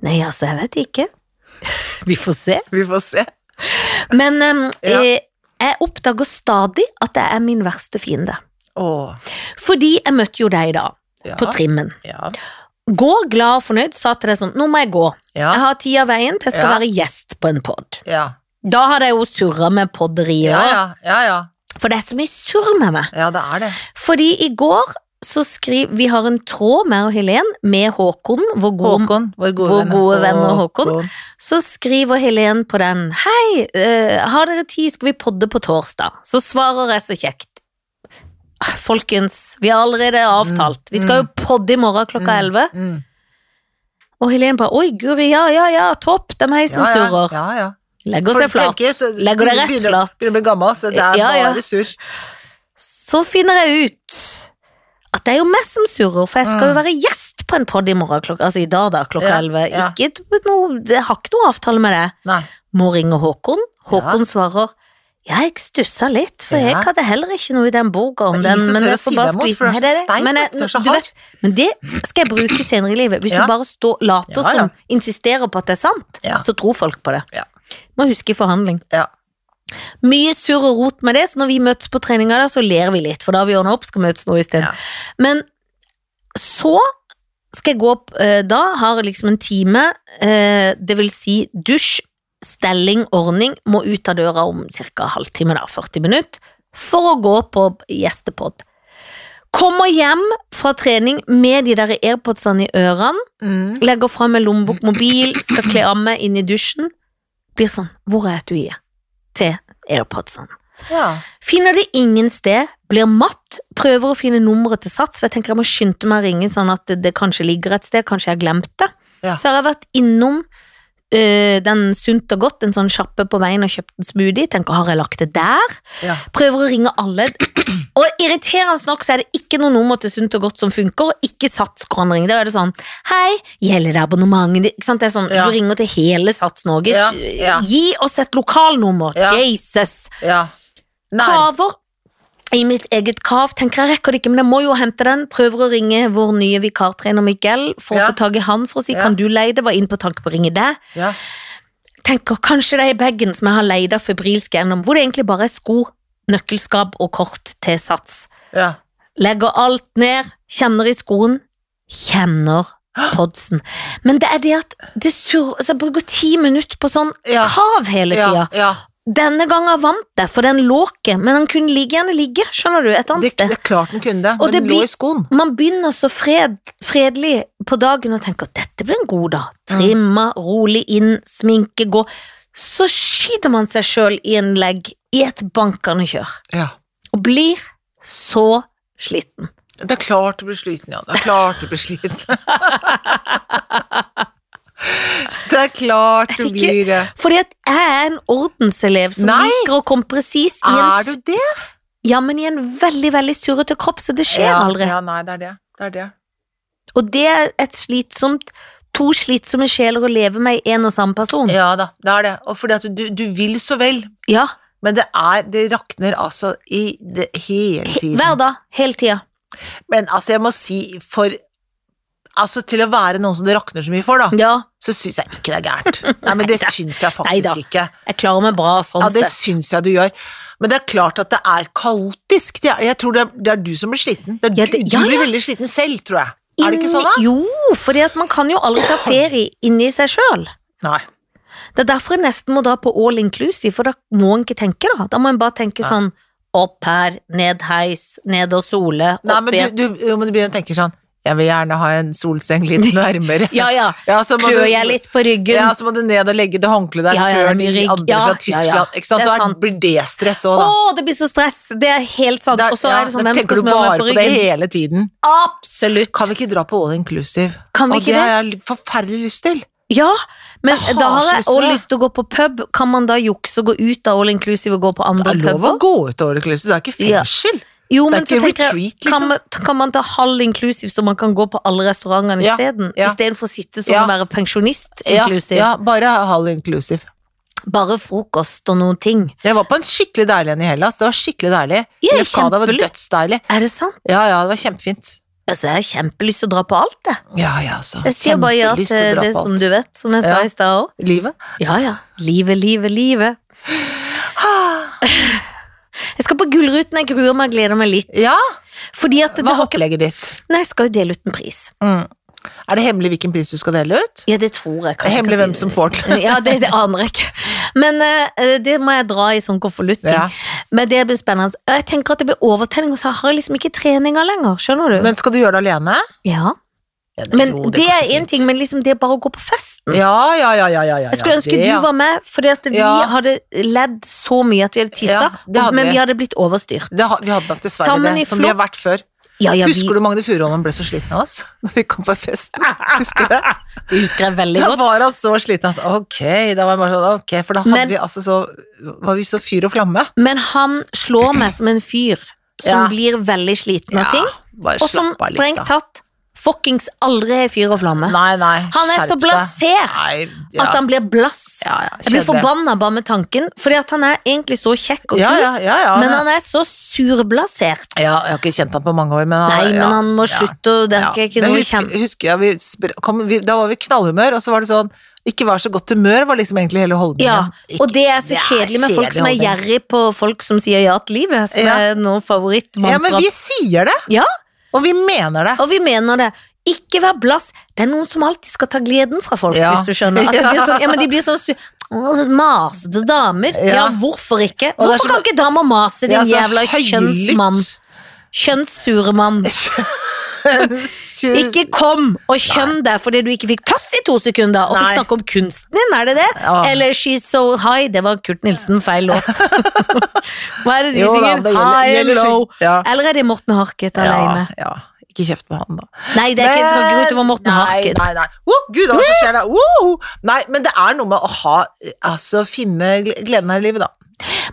[SPEAKER 1] Nei, altså, jeg vet ikke. Vi får se.
[SPEAKER 2] Vi får se.
[SPEAKER 1] Men em,
[SPEAKER 2] Ja.
[SPEAKER 1] eh, jeg oppdager stadig at jeg er min verste fiende.
[SPEAKER 2] Åh,
[SPEAKER 1] Fordi jeg møtte jo deg da,
[SPEAKER 2] ja.
[SPEAKER 1] på trimmen.
[SPEAKER 2] Ja.
[SPEAKER 1] Går glad og fornøyd, sa til deg sånn, nå må jeg gå.
[SPEAKER 2] Ja.
[SPEAKER 1] Jeg har tid av veien til jeg skal
[SPEAKER 2] Ja.
[SPEAKER 1] være gjest på en podd.
[SPEAKER 2] Ja.
[SPEAKER 1] Da hadde jeg jo surret med podderier,
[SPEAKER 2] Ja, ja, ja, ja.
[SPEAKER 1] for det er så mye surr med meg.
[SPEAKER 2] Ja, det er det.
[SPEAKER 1] Fordi i går så skriver, vi har en tråd, meg og Helen, med Håkon, hvor god
[SPEAKER 2] Håkon, vår gode
[SPEAKER 1] Vår
[SPEAKER 2] venn.
[SPEAKER 1] gode venn og Håkon. Så skriver Helen på den Hei, eh, har dere tid, skal vi podde på torsdag? Så svarer jeg så kjekt «Ah, Folkens, vi har allerede avtalt Vi skal jo podde i morgen klokka
[SPEAKER 2] Mm.
[SPEAKER 1] 11
[SPEAKER 2] Mm.
[SPEAKER 1] Og Helen bare, oi Guri, ja, ja, ja, topp Det er meg som
[SPEAKER 2] Ja, ja,
[SPEAKER 1] surrer
[SPEAKER 2] Ja, ja.
[SPEAKER 1] Legger seg
[SPEAKER 2] Folk
[SPEAKER 1] flat
[SPEAKER 2] tenker, så
[SPEAKER 1] Legger det rett
[SPEAKER 2] begynner-
[SPEAKER 1] flat.
[SPEAKER 2] Begynner å bli gammel, så det er
[SPEAKER 1] Ja, ja.
[SPEAKER 2] bare surr.
[SPEAKER 1] Så finner jeg ut At det er jo meg som surrer For jeg skal jo
[SPEAKER 2] Mm.
[SPEAKER 1] være gjest på en podd i morgen klokka, Altså i dag da, klokka
[SPEAKER 2] Ja,
[SPEAKER 1] 11
[SPEAKER 2] ja.
[SPEAKER 1] Ikke, noe, Jeg har ikke noe avtale med det
[SPEAKER 2] Nei.
[SPEAKER 1] må ringe Håkon. Håkon svarer ja, jeg stussa litt, for jeg
[SPEAKER 2] Ja.
[SPEAKER 1] hadde heller ikke noe i den boka om
[SPEAKER 2] Men
[SPEAKER 1] den.
[SPEAKER 2] ingen som
[SPEAKER 1] Men
[SPEAKER 2] tør
[SPEAKER 1] jeg
[SPEAKER 2] å
[SPEAKER 1] får
[SPEAKER 2] si
[SPEAKER 1] bare
[SPEAKER 2] det imot,
[SPEAKER 1] skrive
[SPEAKER 2] for det er
[SPEAKER 1] Nei,
[SPEAKER 2] så steint,
[SPEAKER 1] men,
[SPEAKER 2] vet du, det er så
[SPEAKER 1] jeg- du vet,
[SPEAKER 2] hardt.
[SPEAKER 1] men det skal jeg bruke senere i livet. Hvis
[SPEAKER 2] Ja.
[SPEAKER 1] du bare står, later
[SPEAKER 2] Ja, ja.
[SPEAKER 1] som, insisterer på at det er sant,
[SPEAKER 2] Ja.
[SPEAKER 1] så tror folk på det.
[SPEAKER 2] Ja.
[SPEAKER 1] Må huske i forhandling.
[SPEAKER 2] Ja.
[SPEAKER 1] Mye surr og rot med det, så når vi møtes på treninga, da, så ler vi litt, for da har vi ordna opp, skal møtes nå isteden.
[SPEAKER 2] Ja.
[SPEAKER 1] Men så skal jeg gå opp eh, da, har liksom en time, eh, det vil si dusj, stelling, ordning, må ut av døra om ca. halvtime, da, 40 minutter, for å gå på gjestepod. Kommer hjem fra trening med de der airpodsene i ørene,
[SPEAKER 2] Mm.
[SPEAKER 1] legger fra meg lommebok, mobil, skal kle av meg inn i dusjen, blir sånn, hvor er du i? Til airpodsene.
[SPEAKER 2] Ja.
[SPEAKER 1] Finner det ingen sted, blir matt, prøver å finne nummeret til Sats, for jeg tenker jeg må skynde meg å ringe sånn at det, det kanskje ligger et sted, kanskje jeg har glemt det.
[SPEAKER 2] Ja.
[SPEAKER 1] Så har jeg vært innom øh, den sunt og godt, en sånn kjappe på veien og kjøpt en smoothie, tenker har jeg lagt det der?
[SPEAKER 2] Ja.
[SPEAKER 1] Prøver å ringe alle, og irriterende nok så er det ikke noe nummer til sunt og godt som funker, og ikke Sats går an å ringe. Da er det sånn, hei, gjelder det abonnementet? ditt?» Ikke sant, det er sånn, du
[SPEAKER 2] Ja.
[SPEAKER 1] ringer til hele Sats Norge,
[SPEAKER 2] Ja, ja.
[SPEAKER 1] gi oss et lokalnummer,
[SPEAKER 2] Ja.
[SPEAKER 1] Jesus!
[SPEAKER 2] ja. Nei.
[SPEAKER 1] Kaver i mitt eget kav. Tenker jeg rekker det ikke, men jeg må jo hente den. Prøver å ringe vår nye vikartrener Miguel for
[SPEAKER 2] Ja.
[SPEAKER 1] å få tak i han for å si
[SPEAKER 2] Ja.
[SPEAKER 1] kan du leie det. Var inn på tanke på å ringe deg.
[SPEAKER 2] Ja.
[SPEAKER 1] Tenker kanskje det er i bagen som jeg har leid av febrilsk gjennom, hvor det egentlig bare er sko, nøkkelskap og kort til sats.
[SPEAKER 2] Ja.
[SPEAKER 1] Legger alt ned, kjenner i skoen, kjenner podsen. Men det er det at det surrer altså Jeg bruker ti minutter på sånn
[SPEAKER 2] Ja.
[SPEAKER 1] kav hele tida.
[SPEAKER 2] Ja. ja.
[SPEAKER 1] Denne gangen vant jeg, for den lå ikke, men den kunne like gjerne ligge, skjønner du, et
[SPEAKER 2] Det,
[SPEAKER 1] annet Sånn
[SPEAKER 2] det
[SPEAKER 1] sted.
[SPEAKER 2] er klart den kunne det,
[SPEAKER 1] Og
[SPEAKER 2] men
[SPEAKER 1] det
[SPEAKER 2] den
[SPEAKER 1] blir-
[SPEAKER 2] lå i skoen.
[SPEAKER 1] Man begynner så fred, fredelig på dagen og tenker at dette blir en god dag. Trimma,
[SPEAKER 2] Mm.
[SPEAKER 1] rolig inn, sminke, gå. Så skyter man seg sjøl i en legg i et bankende kjør,
[SPEAKER 2] Ja.
[SPEAKER 1] og blir så sliten.
[SPEAKER 2] Det er klart du blir sliten, ja. Det er klart du blir sliten. det er klart du
[SPEAKER 1] Er det ikke-
[SPEAKER 2] blir eh, det.
[SPEAKER 1] Fordi at jeg er en ordenselev som
[SPEAKER 2] Nei!
[SPEAKER 1] liker å komme presis i en,
[SPEAKER 2] Er du
[SPEAKER 1] s-
[SPEAKER 2] det?
[SPEAKER 1] ja, men i en veldig, veldig surrete kropp, så det skjer
[SPEAKER 2] ja,
[SPEAKER 1] aldri.
[SPEAKER 2] Ja, nei, det er det. Det er det.
[SPEAKER 1] Og det er et slitsomt To slitsomme sjeler å leve med i en og samme person.
[SPEAKER 2] Ja da, det er det. Og fordi at du, du vil så vel,
[SPEAKER 1] Ja,
[SPEAKER 2] men det er Det rakner altså i det hele
[SPEAKER 1] he-
[SPEAKER 2] tiden.
[SPEAKER 1] hver dag, hele tida.
[SPEAKER 2] Men altså, jeg må si, for altså til å være noen som det rakner så mye for, da,
[SPEAKER 1] Ja,
[SPEAKER 2] så syns jeg ikke det er gærent. Nei, men det
[SPEAKER 1] Neida.
[SPEAKER 2] syns jeg
[SPEAKER 1] Neida.
[SPEAKER 2] faktisk ikke.
[SPEAKER 1] jeg klarer meg bra sånn
[SPEAKER 2] Ja, det
[SPEAKER 1] sett.
[SPEAKER 2] syns jeg du gjør. Men det er klart at det er kaotisk. Det er- Jeg tror det er, det er du som blir sliten. Det er
[SPEAKER 1] Ja, det-
[SPEAKER 2] du,
[SPEAKER 1] ja,
[SPEAKER 2] du blir
[SPEAKER 1] ja.
[SPEAKER 2] veldig sliten selv, tror jeg. Er det ikke sånn, da?
[SPEAKER 1] Inni- Jo, fordi at man kan jo aldri ta ferie inni seg sjøl.
[SPEAKER 2] Nei.
[SPEAKER 1] Det er derfor jeg nesten må dra på all inclusive, for da må en ikke tenke, da. Da må en bare tenke
[SPEAKER 2] Ja.
[SPEAKER 1] sånn opp her, ned heis, ned og sole,
[SPEAKER 2] Nei,
[SPEAKER 1] opp
[SPEAKER 2] men
[SPEAKER 1] igjen.
[SPEAKER 2] du, du, jo, men du begynner å tenke sånn Jeg vil gjerne ha en solseng litt nærmere.
[SPEAKER 1] Ja ja,
[SPEAKER 2] Ja, så må
[SPEAKER 1] klør
[SPEAKER 2] du-
[SPEAKER 1] jeg litt på ryggen.
[SPEAKER 2] Ja, så må du ned og legge det håndkleet der
[SPEAKER 1] Ja, ja, det
[SPEAKER 2] før
[SPEAKER 1] er mye
[SPEAKER 2] de
[SPEAKER 1] rygg.
[SPEAKER 2] andre
[SPEAKER 1] Ja, ja,
[SPEAKER 2] fra
[SPEAKER 1] ja.
[SPEAKER 2] Tyskland. Ikke
[SPEAKER 1] Det
[SPEAKER 2] sant?
[SPEAKER 1] er
[SPEAKER 2] Så er,
[SPEAKER 1] sant.
[SPEAKER 2] blir det stress
[SPEAKER 1] Å,
[SPEAKER 2] òg, da.
[SPEAKER 1] det blir så stress! Det er helt sant.
[SPEAKER 2] Der-
[SPEAKER 1] Og så
[SPEAKER 2] ja,
[SPEAKER 1] er det sånn,
[SPEAKER 2] da
[SPEAKER 1] hvem
[SPEAKER 2] tenker
[SPEAKER 1] skal
[SPEAKER 2] du
[SPEAKER 1] smøre
[SPEAKER 2] bare
[SPEAKER 1] meg på
[SPEAKER 2] på det
[SPEAKER 1] ryggen?
[SPEAKER 2] hele tiden.
[SPEAKER 1] Absolutt!
[SPEAKER 2] Kan vi ikke dra på all inclusive?
[SPEAKER 1] Kan vi
[SPEAKER 2] og
[SPEAKER 1] ikke
[SPEAKER 2] det
[SPEAKER 1] det?
[SPEAKER 2] har jeg litt forferdelig lyst til.
[SPEAKER 1] Ja, men
[SPEAKER 2] Jeg
[SPEAKER 1] da
[SPEAKER 2] har
[SPEAKER 1] har
[SPEAKER 2] så
[SPEAKER 1] jeg
[SPEAKER 2] lyst til
[SPEAKER 1] også
[SPEAKER 2] det.
[SPEAKER 1] lyst til å gå på pub. Kan man da jukse og gå ut av all inclusive og gå på
[SPEAKER 2] Det
[SPEAKER 1] andre
[SPEAKER 2] er lov å
[SPEAKER 1] puber?
[SPEAKER 2] gå ut av all inclusive, det er ikke
[SPEAKER 1] Ja.
[SPEAKER 2] fengsel.
[SPEAKER 1] Jo,
[SPEAKER 2] Det er
[SPEAKER 1] men så
[SPEAKER 2] ikke
[SPEAKER 1] tenker jeg,
[SPEAKER 2] retreat,
[SPEAKER 1] kan,
[SPEAKER 2] liksom.
[SPEAKER 1] man, kan man ta halv inclusive, så man kan gå på alle restaurantene
[SPEAKER 2] Ja,
[SPEAKER 1] isteden?
[SPEAKER 2] ja.
[SPEAKER 1] Istedenfor å sitte sånn
[SPEAKER 2] Ja.
[SPEAKER 1] og være pensjonist
[SPEAKER 2] Ja,
[SPEAKER 1] inclusive.
[SPEAKER 2] ja, bare halv inclusive.
[SPEAKER 1] Bare frokost og noen ting.
[SPEAKER 2] Jeg var på en skikkelig deilig en i Hellas. Det var skikkelig deilig.
[SPEAKER 1] Ja,
[SPEAKER 2] Lefkada var
[SPEAKER 1] kjempelyst.
[SPEAKER 2] dødsdeilig.
[SPEAKER 1] Er det sant?
[SPEAKER 2] Ja, ja, det var kjempefint.
[SPEAKER 1] Altså, jeg har kjempelyst til å dra på alt, jeg.
[SPEAKER 2] Ja, ja, altså.
[SPEAKER 1] Jeg sier bare ja
[SPEAKER 2] Kjempelyst å
[SPEAKER 1] til
[SPEAKER 2] dra
[SPEAKER 1] det
[SPEAKER 2] på
[SPEAKER 1] som
[SPEAKER 2] alt.
[SPEAKER 1] du vet, som jeg sa
[SPEAKER 2] Ja.
[SPEAKER 1] i stad òg.
[SPEAKER 2] Livet?
[SPEAKER 1] Ja ja. Livet, livet, livet. Jeg skal på Gullruten, jeg gruer meg og gleder meg litt.
[SPEAKER 2] Ja,
[SPEAKER 1] Fordi at det,
[SPEAKER 2] hva er
[SPEAKER 1] har ikke
[SPEAKER 2] opplegget ditt?
[SPEAKER 1] Nei, jeg skal jo dele ut en pris.
[SPEAKER 2] Mm. Er det hemmelig hvilken pris du skal dele ut?
[SPEAKER 1] Ja, det tror jeg kanskje.
[SPEAKER 2] Hemmelig
[SPEAKER 1] jeg kan
[SPEAKER 2] hvem
[SPEAKER 1] si.
[SPEAKER 2] som får den.
[SPEAKER 1] Ja, det, det aner jeg ikke. Men eh, det må jeg dra i sånn konvolutt.
[SPEAKER 2] Ja.
[SPEAKER 1] Men det blir spennende. Og Jeg tenker at det blir overtenning, og så har jeg liksom ikke treninga lenger. Skjønner du?
[SPEAKER 2] Men skal du gjøre det alene?
[SPEAKER 1] ja.
[SPEAKER 2] Ja, det-
[SPEAKER 1] men
[SPEAKER 2] jo,
[SPEAKER 1] det,
[SPEAKER 2] går så
[SPEAKER 1] er én
[SPEAKER 2] fint.
[SPEAKER 1] ting, men liksom det er bare å gå på festen.
[SPEAKER 2] Ja, ja, ja, ja, ja, ja.
[SPEAKER 1] Jeg skulle ønske du var med, fordi at vi
[SPEAKER 2] Ja.
[SPEAKER 1] hadde ledd så mye at vi hadde tissa,
[SPEAKER 2] Ja, det hadde
[SPEAKER 1] men
[SPEAKER 2] vi.
[SPEAKER 1] vi hadde blitt overstyrt.
[SPEAKER 2] det, har- Vi hadde nok dessverre
[SPEAKER 1] Sammen i
[SPEAKER 2] det, som vi har
[SPEAKER 1] flokk.
[SPEAKER 2] vært før.
[SPEAKER 1] Ja, ja, vi
[SPEAKER 2] Husker du Magne Furuholmen ble så sliten av oss da vi kom på festen? Husker du det?
[SPEAKER 1] det husker jeg veldig
[SPEAKER 2] Da
[SPEAKER 1] godt.
[SPEAKER 2] var han så sliten. Altså. Ok, da var jeg bare sånn, ok, for da hadde
[SPEAKER 1] Men-
[SPEAKER 2] vi altså så Var vi så fyr og flamme?
[SPEAKER 1] Men han slår meg som en fyr som
[SPEAKER 2] Ja.
[SPEAKER 1] blir veldig sliten av ting,
[SPEAKER 2] bare
[SPEAKER 1] og som
[SPEAKER 2] slapp av litt,
[SPEAKER 1] strengt
[SPEAKER 2] da.
[SPEAKER 1] tatt fuckings aldri er fyr og flamme.
[SPEAKER 2] Nei, nei,
[SPEAKER 1] Han er
[SPEAKER 2] skjerp
[SPEAKER 1] så
[SPEAKER 2] deg.
[SPEAKER 1] blasert
[SPEAKER 2] Nei, ja.
[SPEAKER 1] At han blir blass.
[SPEAKER 2] ja, ja,
[SPEAKER 1] Jeg blir
[SPEAKER 2] kjedelig.
[SPEAKER 1] forbanna bare med tanken, fordi at han er egentlig så kjekk og kul,
[SPEAKER 2] Ja, ja, ja, ja.
[SPEAKER 1] men han er så surblasert.
[SPEAKER 2] ja, jeg har ikke kjent han på mange år, men han,
[SPEAKER 1] Nei, men
[SPEAKER 2] ja,
[SPEAKER 1] han må
[SPEAKER 2] ja.
[SPEAKER 1] slutte, og det er ikke- ikke
[SPEAKER 2] Men
[SPEAKER 1] noe
[SPEAKER 2] husker,
[SPEAKER 1] kjent.
[SPEAKER 2] Husker jeg, vi spr- kom, vi, da var vi i knallhumør, og så var det sånn Ikke vær så godt humør, var liksom egentlig hele holdningen.
[SPEAKER 1] Ja,
[SPEAKER 2] Ikke-
[SPEAKER 1] og det er så
[SPEAKER 2] det er
[SPEAKER 1] kjedelig med folk som er
[SPEAKER 2] kjedelig holdning.
[SPEAKER 1] gjerrig på folk som sier ja til livet, som
[SPEAKER 2] Ja.
[SPEAKER 1] er noe
[SPEAKER 2] Ja, men
[SPEAKER 1] favorittmantra.
[SPEAKER 2] vi sier det!
[SPEAKER 1] Ja.
[SPEAKER 2] Og vi mener det.
[SPEAKER 1] Og vi mener det. Ikke vær blass. Det er noen som alltid skal ta gleden fra folk,
[SPEAKER 2] Ja.
[SPEAKER 1] hvis du skjønner. At det blir sånn, ja, men de blir sånn su- Åh, Masete damer.
[SPEAKER 2] Ja.
[SPEAKER 1] Ja. hvorfor ikke?
[SPEAKER 2] Og det er
[SPEAKER 1] Hvorfor
[SPEAKER 2] så-
[SPEAKER 1] kan ikke damer mase, din
[SPEAKER 2] Ja, så
[SPEAKER 1] jævla
[SPEAKER 2] høylytt.
[SPEAKER 1] kjønnsmann? Kjønnssure mann. Ikke kom og kjønn deg fordi du ikke fikk plass i to sekunder og fikk
[SPEAKER 2] Nei.
[SPEAKER 1] snakke om kunsten din, er det det?
[SPEAKER 2] Ja.
[SPEAKER 1] Eller She's So High, det var Kurt Nilsen, feil låt. Hva er det de
[SPEAKER 2] Jo da,
[SPEAKER 1] synger?
[SPEAKER 2] det gjelder-
[SPEAKER 1] High and
[SPEAKER 2] gjelder
[SPEAKER 1] low.
[SPEAKER 2] syn- ja.
[SPEAKER 1] Eller er det Morten Harket alene?
[SPEAKER 2] Ja, ja. Ikke kjeft på han, da.
[SPEAKER 1] Nei, det er ikke, det skal ikke gå utover Morten
[SPEAKER 2] nei,
[SPEAKER 1] Harket.
[SPEAKER 2] Nei, nei. Oh, Gud, hva er det som skjer da? Woho! Nei, men det er noe med å ha Altså, finne gl- gleden her i livet, da.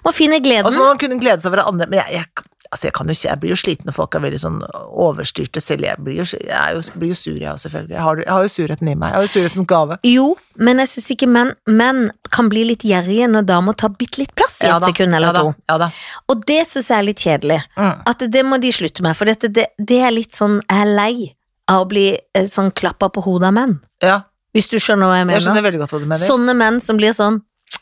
[SPEAKER 1] Må finne
[SPEAKER 2] Og så
[SPEAKER 1] gleden.
[SPEAKER 2] må Altså, man kunne glede seg over det andre, men jeg, jeg, altså jeg, kan jo, ikke- jeg blir jo sliten når folk er veldig sånn overstyrte selv. Jeg blir jo, jeg er jo, blir jo sur, jeg også, selvfølgelig. Jeg har, jeg har jo surheten i meg. Jeg har jo surhetens gave.
[SPEAKER 1] Jo, men jeg syns ikke menn menn kan bli litt gjerrige når damer tar bitte litt plass i
[SPEAKER 2] Ja
[SPEAKER 1] et
[SPEAKER 2] da,
[SPEAKER 1] sekund eller
[SPEAKER 2] ja da,
[SPEAKER 1] to.
[SPEAKER 2] Ja da.
[SPEAKER 1] Og det syns jeg er litt kjedelig.
[SPEAKER 2] Mm.
[SPEAKER 1] At det må de slutte med, for dette, det, det er litt sånn Jeg er lei av å bli eh, sånn klappa på hodet av menn.
[SPEAKER 2] Ja,
[SPEAKER 1] Hvis du skjønner hva jeg
[SPEAKER 2] jeg
[SPEAKER 1] mener.
[SPEAKER 2] skjønner veldig godt hva du mener.
[SPEAKER 1] Sånne menn som blir sånn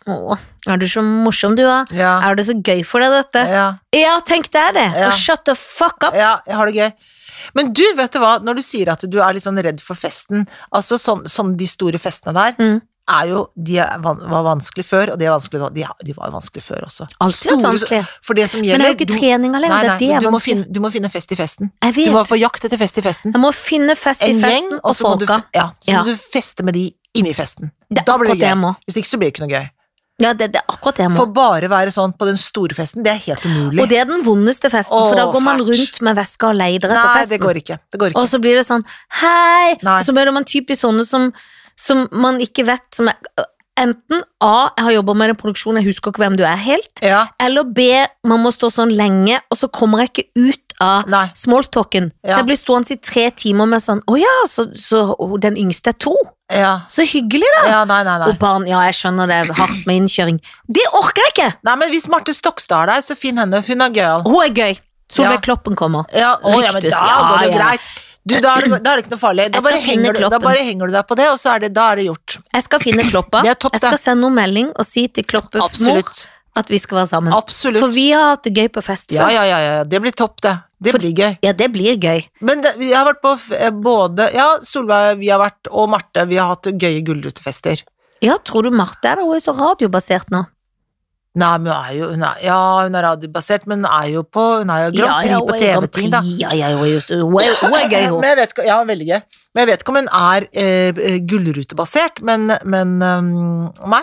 [SPEAKER 1] Åh, er du så morsom du er?
[SPEAKER 2] Ja,
[SPEAKER 1] Er det så gøy for deg dette?
[SPEAKER 2] ja,
[SPEAKER 1] Ja, tenk deg det!
[SPEAKER 2] Ja.
[SPEAKER 1] Og shut the fuck up!
[SPEAKER 2] ja, jeg har det gøy. Men du, vet du hva, når du sier at du er litt sånn redd for festen, altså sånn, sånn de store festene der,
[SPEAKER 1] Mm.
[SPEAKER 2] er jo, de er, van- var vanskelig før, og de er vanskelig nå. De, har- de var vanskelig før også.
[SPEAKER 1] Alltid vært
[SPEAKER 2] Store-
[SPEAKER 1] vanskelig.
[SPEAKER 2] For det som gjelder
[SPEAKER 1] Men jeg har jo ikke
[SPEAKER 2] du-
[SPEAKER 1] treninga
[SPEAKER 2] Nei,
[SPEAKER 1] lenger, det
[SPEAKER 2] nei,
[SPEAKER 1] er det
[SPEAKER 2] men
[SPEAKER 1] er
[SPEAKER 2] du må,
[SPEAKER 1] vanskelig.
[SPEAKER 2] finne, du må finne fest i festen.
[SPEAKER 1] Jeg
[SPEAKER 2] Du må
[SPEAKER 1] vet.
[SPEAKER 2] på jakt etter fest i festen.
[SPEAKER 1] Jeg må finne fest i
[SPEAKER 2] En gjeng,
[SPEAKER 1] festen
[SPEAKER 2] og
[SPEAKER 1] og
[SPEAKER 2] så må du,
[SPEAKER 1] folka.
[SPEAKER 2] ja, så
[SPEAKER 1] Ja.
[SPEAKER 2] må du feste med de inni festen.
[SPEAKER 1] Det er
[SPEAKER 2] Da blir det
[SPEAKER 1] akkurat det jeg
[SPEAKER 2] gøy.
[SPEAKER 1] må.
[SPEAKER 2] Hvis ikke så blir det ikke noe gøy.
[SPEAKER 1] Ja, det, det er akkurat det jeg må.
[SPEAKER 2] For bare være sånn på den store festen, det er helt umulig.
[SPEAKER 1] Og det er den vondeste festen, for da
[SPEAKER 2] Åh,
[SPEAKER 1] går man
[SPEAKER 2] fælt.
[SPEAKER 1] rundt med veska og leider etter
[SPEAKER 2] Nei,
[SPEAKER 1] festen.
[SPEAKER 2] det går ikke. Det går ikke.
[SPEAKER 1] Og så blir det sånn Hei!
[SPEAKER 2] Nei.
[SPEAKER 1] Og så møter man typisk sånne som, som man ikke vet som er, Enten A, jeg har jobba med en produksjon, jeg husker ikke hvem du er helt.
[SPEAKER 2] Ja,
[SPEAKER 1] Eller B, man må stå sånn lenge, og så kommer jeg ikke ut av
[SPEAKER 2] nei.
[SPEAKER 1] smalltalken.
[SPEAKER 2] Ja.
[SPEAKER 1] Så jeg blir stående i tre timer med sånn Å ja, så, så å, den yngste er to.
[SPEAKER 2] Ja,
[SPEAKER 1] Så hyggelig, da!
[SPEAKER 2] ja nei, nei, nei.
[SPEAKER 1] Og barn, ja, jeg skjønner det, er hardt med innkjøring. Det orker jeg ikke!
[SPEAKER 2] Nei, men hvis Marte Stokstad er der, så finn henne. Hun er gøyal.
[SPEAKER 1] Hun er gøy. Solveig
[SPEAKER 2] Ja.
[SPEAKER 1] Kloppen kommer.
[SPEAKER 2] Ja, å, ja, men
[SPEAKER 1] Ryktes,
[SPEAKER 2] da
[SPEAKER 1] ja,
[SPEAKER 2] går det
[SPEAKER 1] ja.
[SPEAKER 2] greit. Du, da er det, da er det ikke noe farlig. Da
[SPEAKER 1] Jeg skal
[SPEAKER 2] bare,
[SPEAKER 1] finne
[SPEAKER 2] henger, du- da
[SPEAKER 1] kloppen.
[SPEAKER 2] bare henger du deg på det, og så er det, da er det gjort.
[SPEAKER 1] Jeg skal finne Kloppa.
[SPEAKER 2] Det er topp,
[SPEAKER 1] jeg skal
[SPEAKER 2] det.
[SPEAKER 1] sende henne melding og si til Kloppes mor
[SPEAKER 2] Absolutt.
[SPEAKER 1] at vi skal være sammen.
[SPEAKER 2] Absolutt.
[SPEAKER 1] For vi har hatt det gøy på fest
[SPEAKER 2] Ja,
[SPEAKER 1] før.
[SPEAKER 2] ja, ja, ja. Det blir topp, det. Det
[SPEAKER 1] For-
[SPEAKER 2] blir gøy.
[SPEAKER 1] Ja, det blir gøy.
[SPEAKER 2] Men det, jeg har vært på f- eh, både Ja, Solveig vi har vært, og Marte, vi har hatt gøye gullrutefester.
[SPEAKER 1] Ja, tror du Marte er der? Hun er så radiobasert nå.
[SPEAKER 2] Nei, men hun er jo hun er, Ja, hun er radiobasert, men hun er jo på Hun er jo Grand Prix
[SPEAKER 1] ja, hun
[SPEAKER 2] på
[SPEAKER 1] er Grand
[SPEAKER 2] TV-ting, da.
[SPEAKER 1] Prix. Ja, ja, hun er jo så- hun er- hun er gøy, hun.
[SPEAKER 2] Men jeg vet, ikke- ja, veldig gøy. Men jeg vet ikke om hun er eh, gullrutebasert, men, men um, Nei.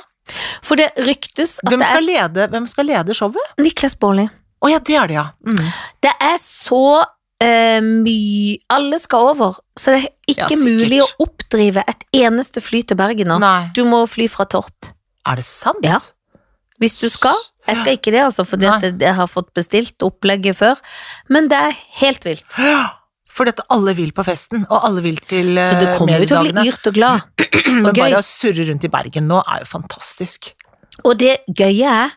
[SPEAKER 1] For det ryktes at
[SPEAKER 2] Hvem
[SPEAKER 1] det
[SPEAKER 2] skal,
[SPEAKER 1] er
[SPEAKER 2] lede, hvem skal lede showet?
[SPEAKER 1] Niklas Baarli.
[SPEAKER 2] Å ja, det er det, ja. Mm.
[SPEAKER 1] Det er så eh, mye Alle skal over, så det er
[SPEAKER 2] Ja,
[SPEAKER 1] ikke
[SPEAKER 2] sikkert.
[SPEAKER 1] mulig å oppdrive et eneste fly til Bergen nå.
[SPEAKER 2] Nei.
[SPEAKER 1] Du må fly fra Torp.
[SPEAKER 2] Er det sant?
[SPEAKER 1] Ja. Hvis du skal. Jeg skal ikke det, altså, for
[SPEAKER 2] Nei.
[SPEAKER 1] jeg har fått bestilt opplegget før. Men det er helt vilt.
[SPEAKER 2] For dette alle vil på festen, og alle vil til
[SPEAKER 1] Så du
[SPEAKER 2] eh,
[SPEAKER 1] kommer jo til å bli
[SPEAKER 2] mediedagene.
[SPEAKER 1] yrt og glad.
[SPEAKER 2] Men
[SPEAKER 1] Og gøy.
[SPEAKER 2] bare å surre rundt i Bergen nå er jo fantastisk.
[SPEAKER 1] Og det gøye er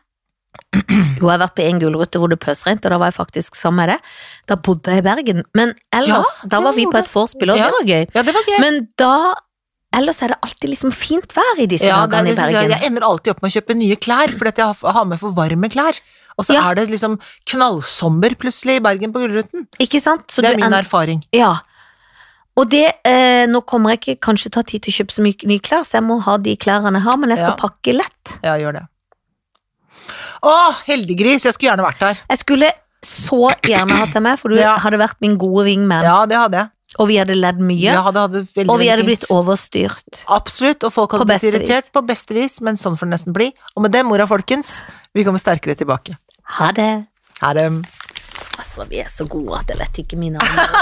[SPEAKER 1] Jo, jeg har vært på en gulrute hvor det pøsregnet, og da var jeg faktisk sammen med deg. Da bodde jeg i Bergen. Men ellers,
[SPEAKER 2] Ja,
[SPEAKER 1] da
[SPEAKER 2] det
[SPEAKER 1] var vi på
[SPEAKER 2] gjorde
[SPEAKER 1] et vorspiel, og
[SPEAKER 2] Ja.
[SPEAKER 1] det var gøy.
[SPEAKER 2] Ja, det var gøy.
[SPEAKER 1] Men da Ellers er det alltid liksom fint vær i disse
[SPEAKER 2] ja, det,
[SPEAKER 1] dagene
[SPEAKER 2] det,
[SPEAKER 1] i
[SPEAKER 2] synes jeg,
[SPEAKER 1] Bergen.
[SPEAKER 2] jeg ender alltid opp med å kjøpe nye klær, fordi at jeg har, har med for varme klær. Og så
[SPEAKER 1] Ja.
[SPEAKER 2] er det liksom knallsommer plutselig i Bergen på Gullruten.
[SPEAKER 1] Ikke sant? Så
[SPEAKER 2] Det
[SPEAKER 1] du
[SPEAKER 2] er min
[SPEAKER 1] en-
[SPEAKER 2] erfaring.
[SPEAKER 1] Ja. Og det eh, Nå kommer jeg ikke kanskje ta tid til å kjøpe så mye nye klær, så jeg må ha de klærne jeg har, men jeg skal
[SPEAKER 2] Ja.
[SPEAKER 1] pakke lett.
[SPEAKER 2] Ja, gjør det. Å, heldiggris, jeg skulle gjerne vært der.
[SPEAKER 1] Jeg skulle så gjerne hatt deg med, for du
[SPEAKER 2] Ja.
[SPEAKER 1] hadde vært min gode wingman,
[SPEAKER 2] Ja, det hadde jeg.
[SPEAKER 1] og vi hadde ledd mye,
[SPEAKER 2] Jeg hadde, hadde veldig,
[SPEAKER 1] og vi hadde
[SPEAKER 2] veldig
[SPEAKER 1] blitt
[SPEAKER 2] fint.
[SPEAKER 1] overstyrt.
[SPEAKER 2] Absolutt, og folk hadde
[SPEAKER 1] På
[SPEAKER 2] blitt
[SPEAKER 1] beste
[SPEAKER 2] irritert på beste vis, men sånn får det nesten bli. Og med det, mora folkens, vi kommer sterkere tilbake.
[SPEAKER 1] Ha det.
[SPEAKER 2] Ha det.
[SPEAKER 1] Altså, vi er så gode at jeg vet ikke mine andre.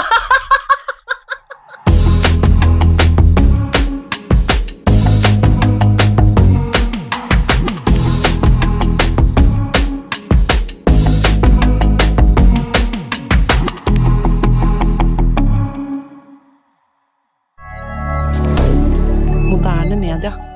[SPEAKER 3] Moderne media.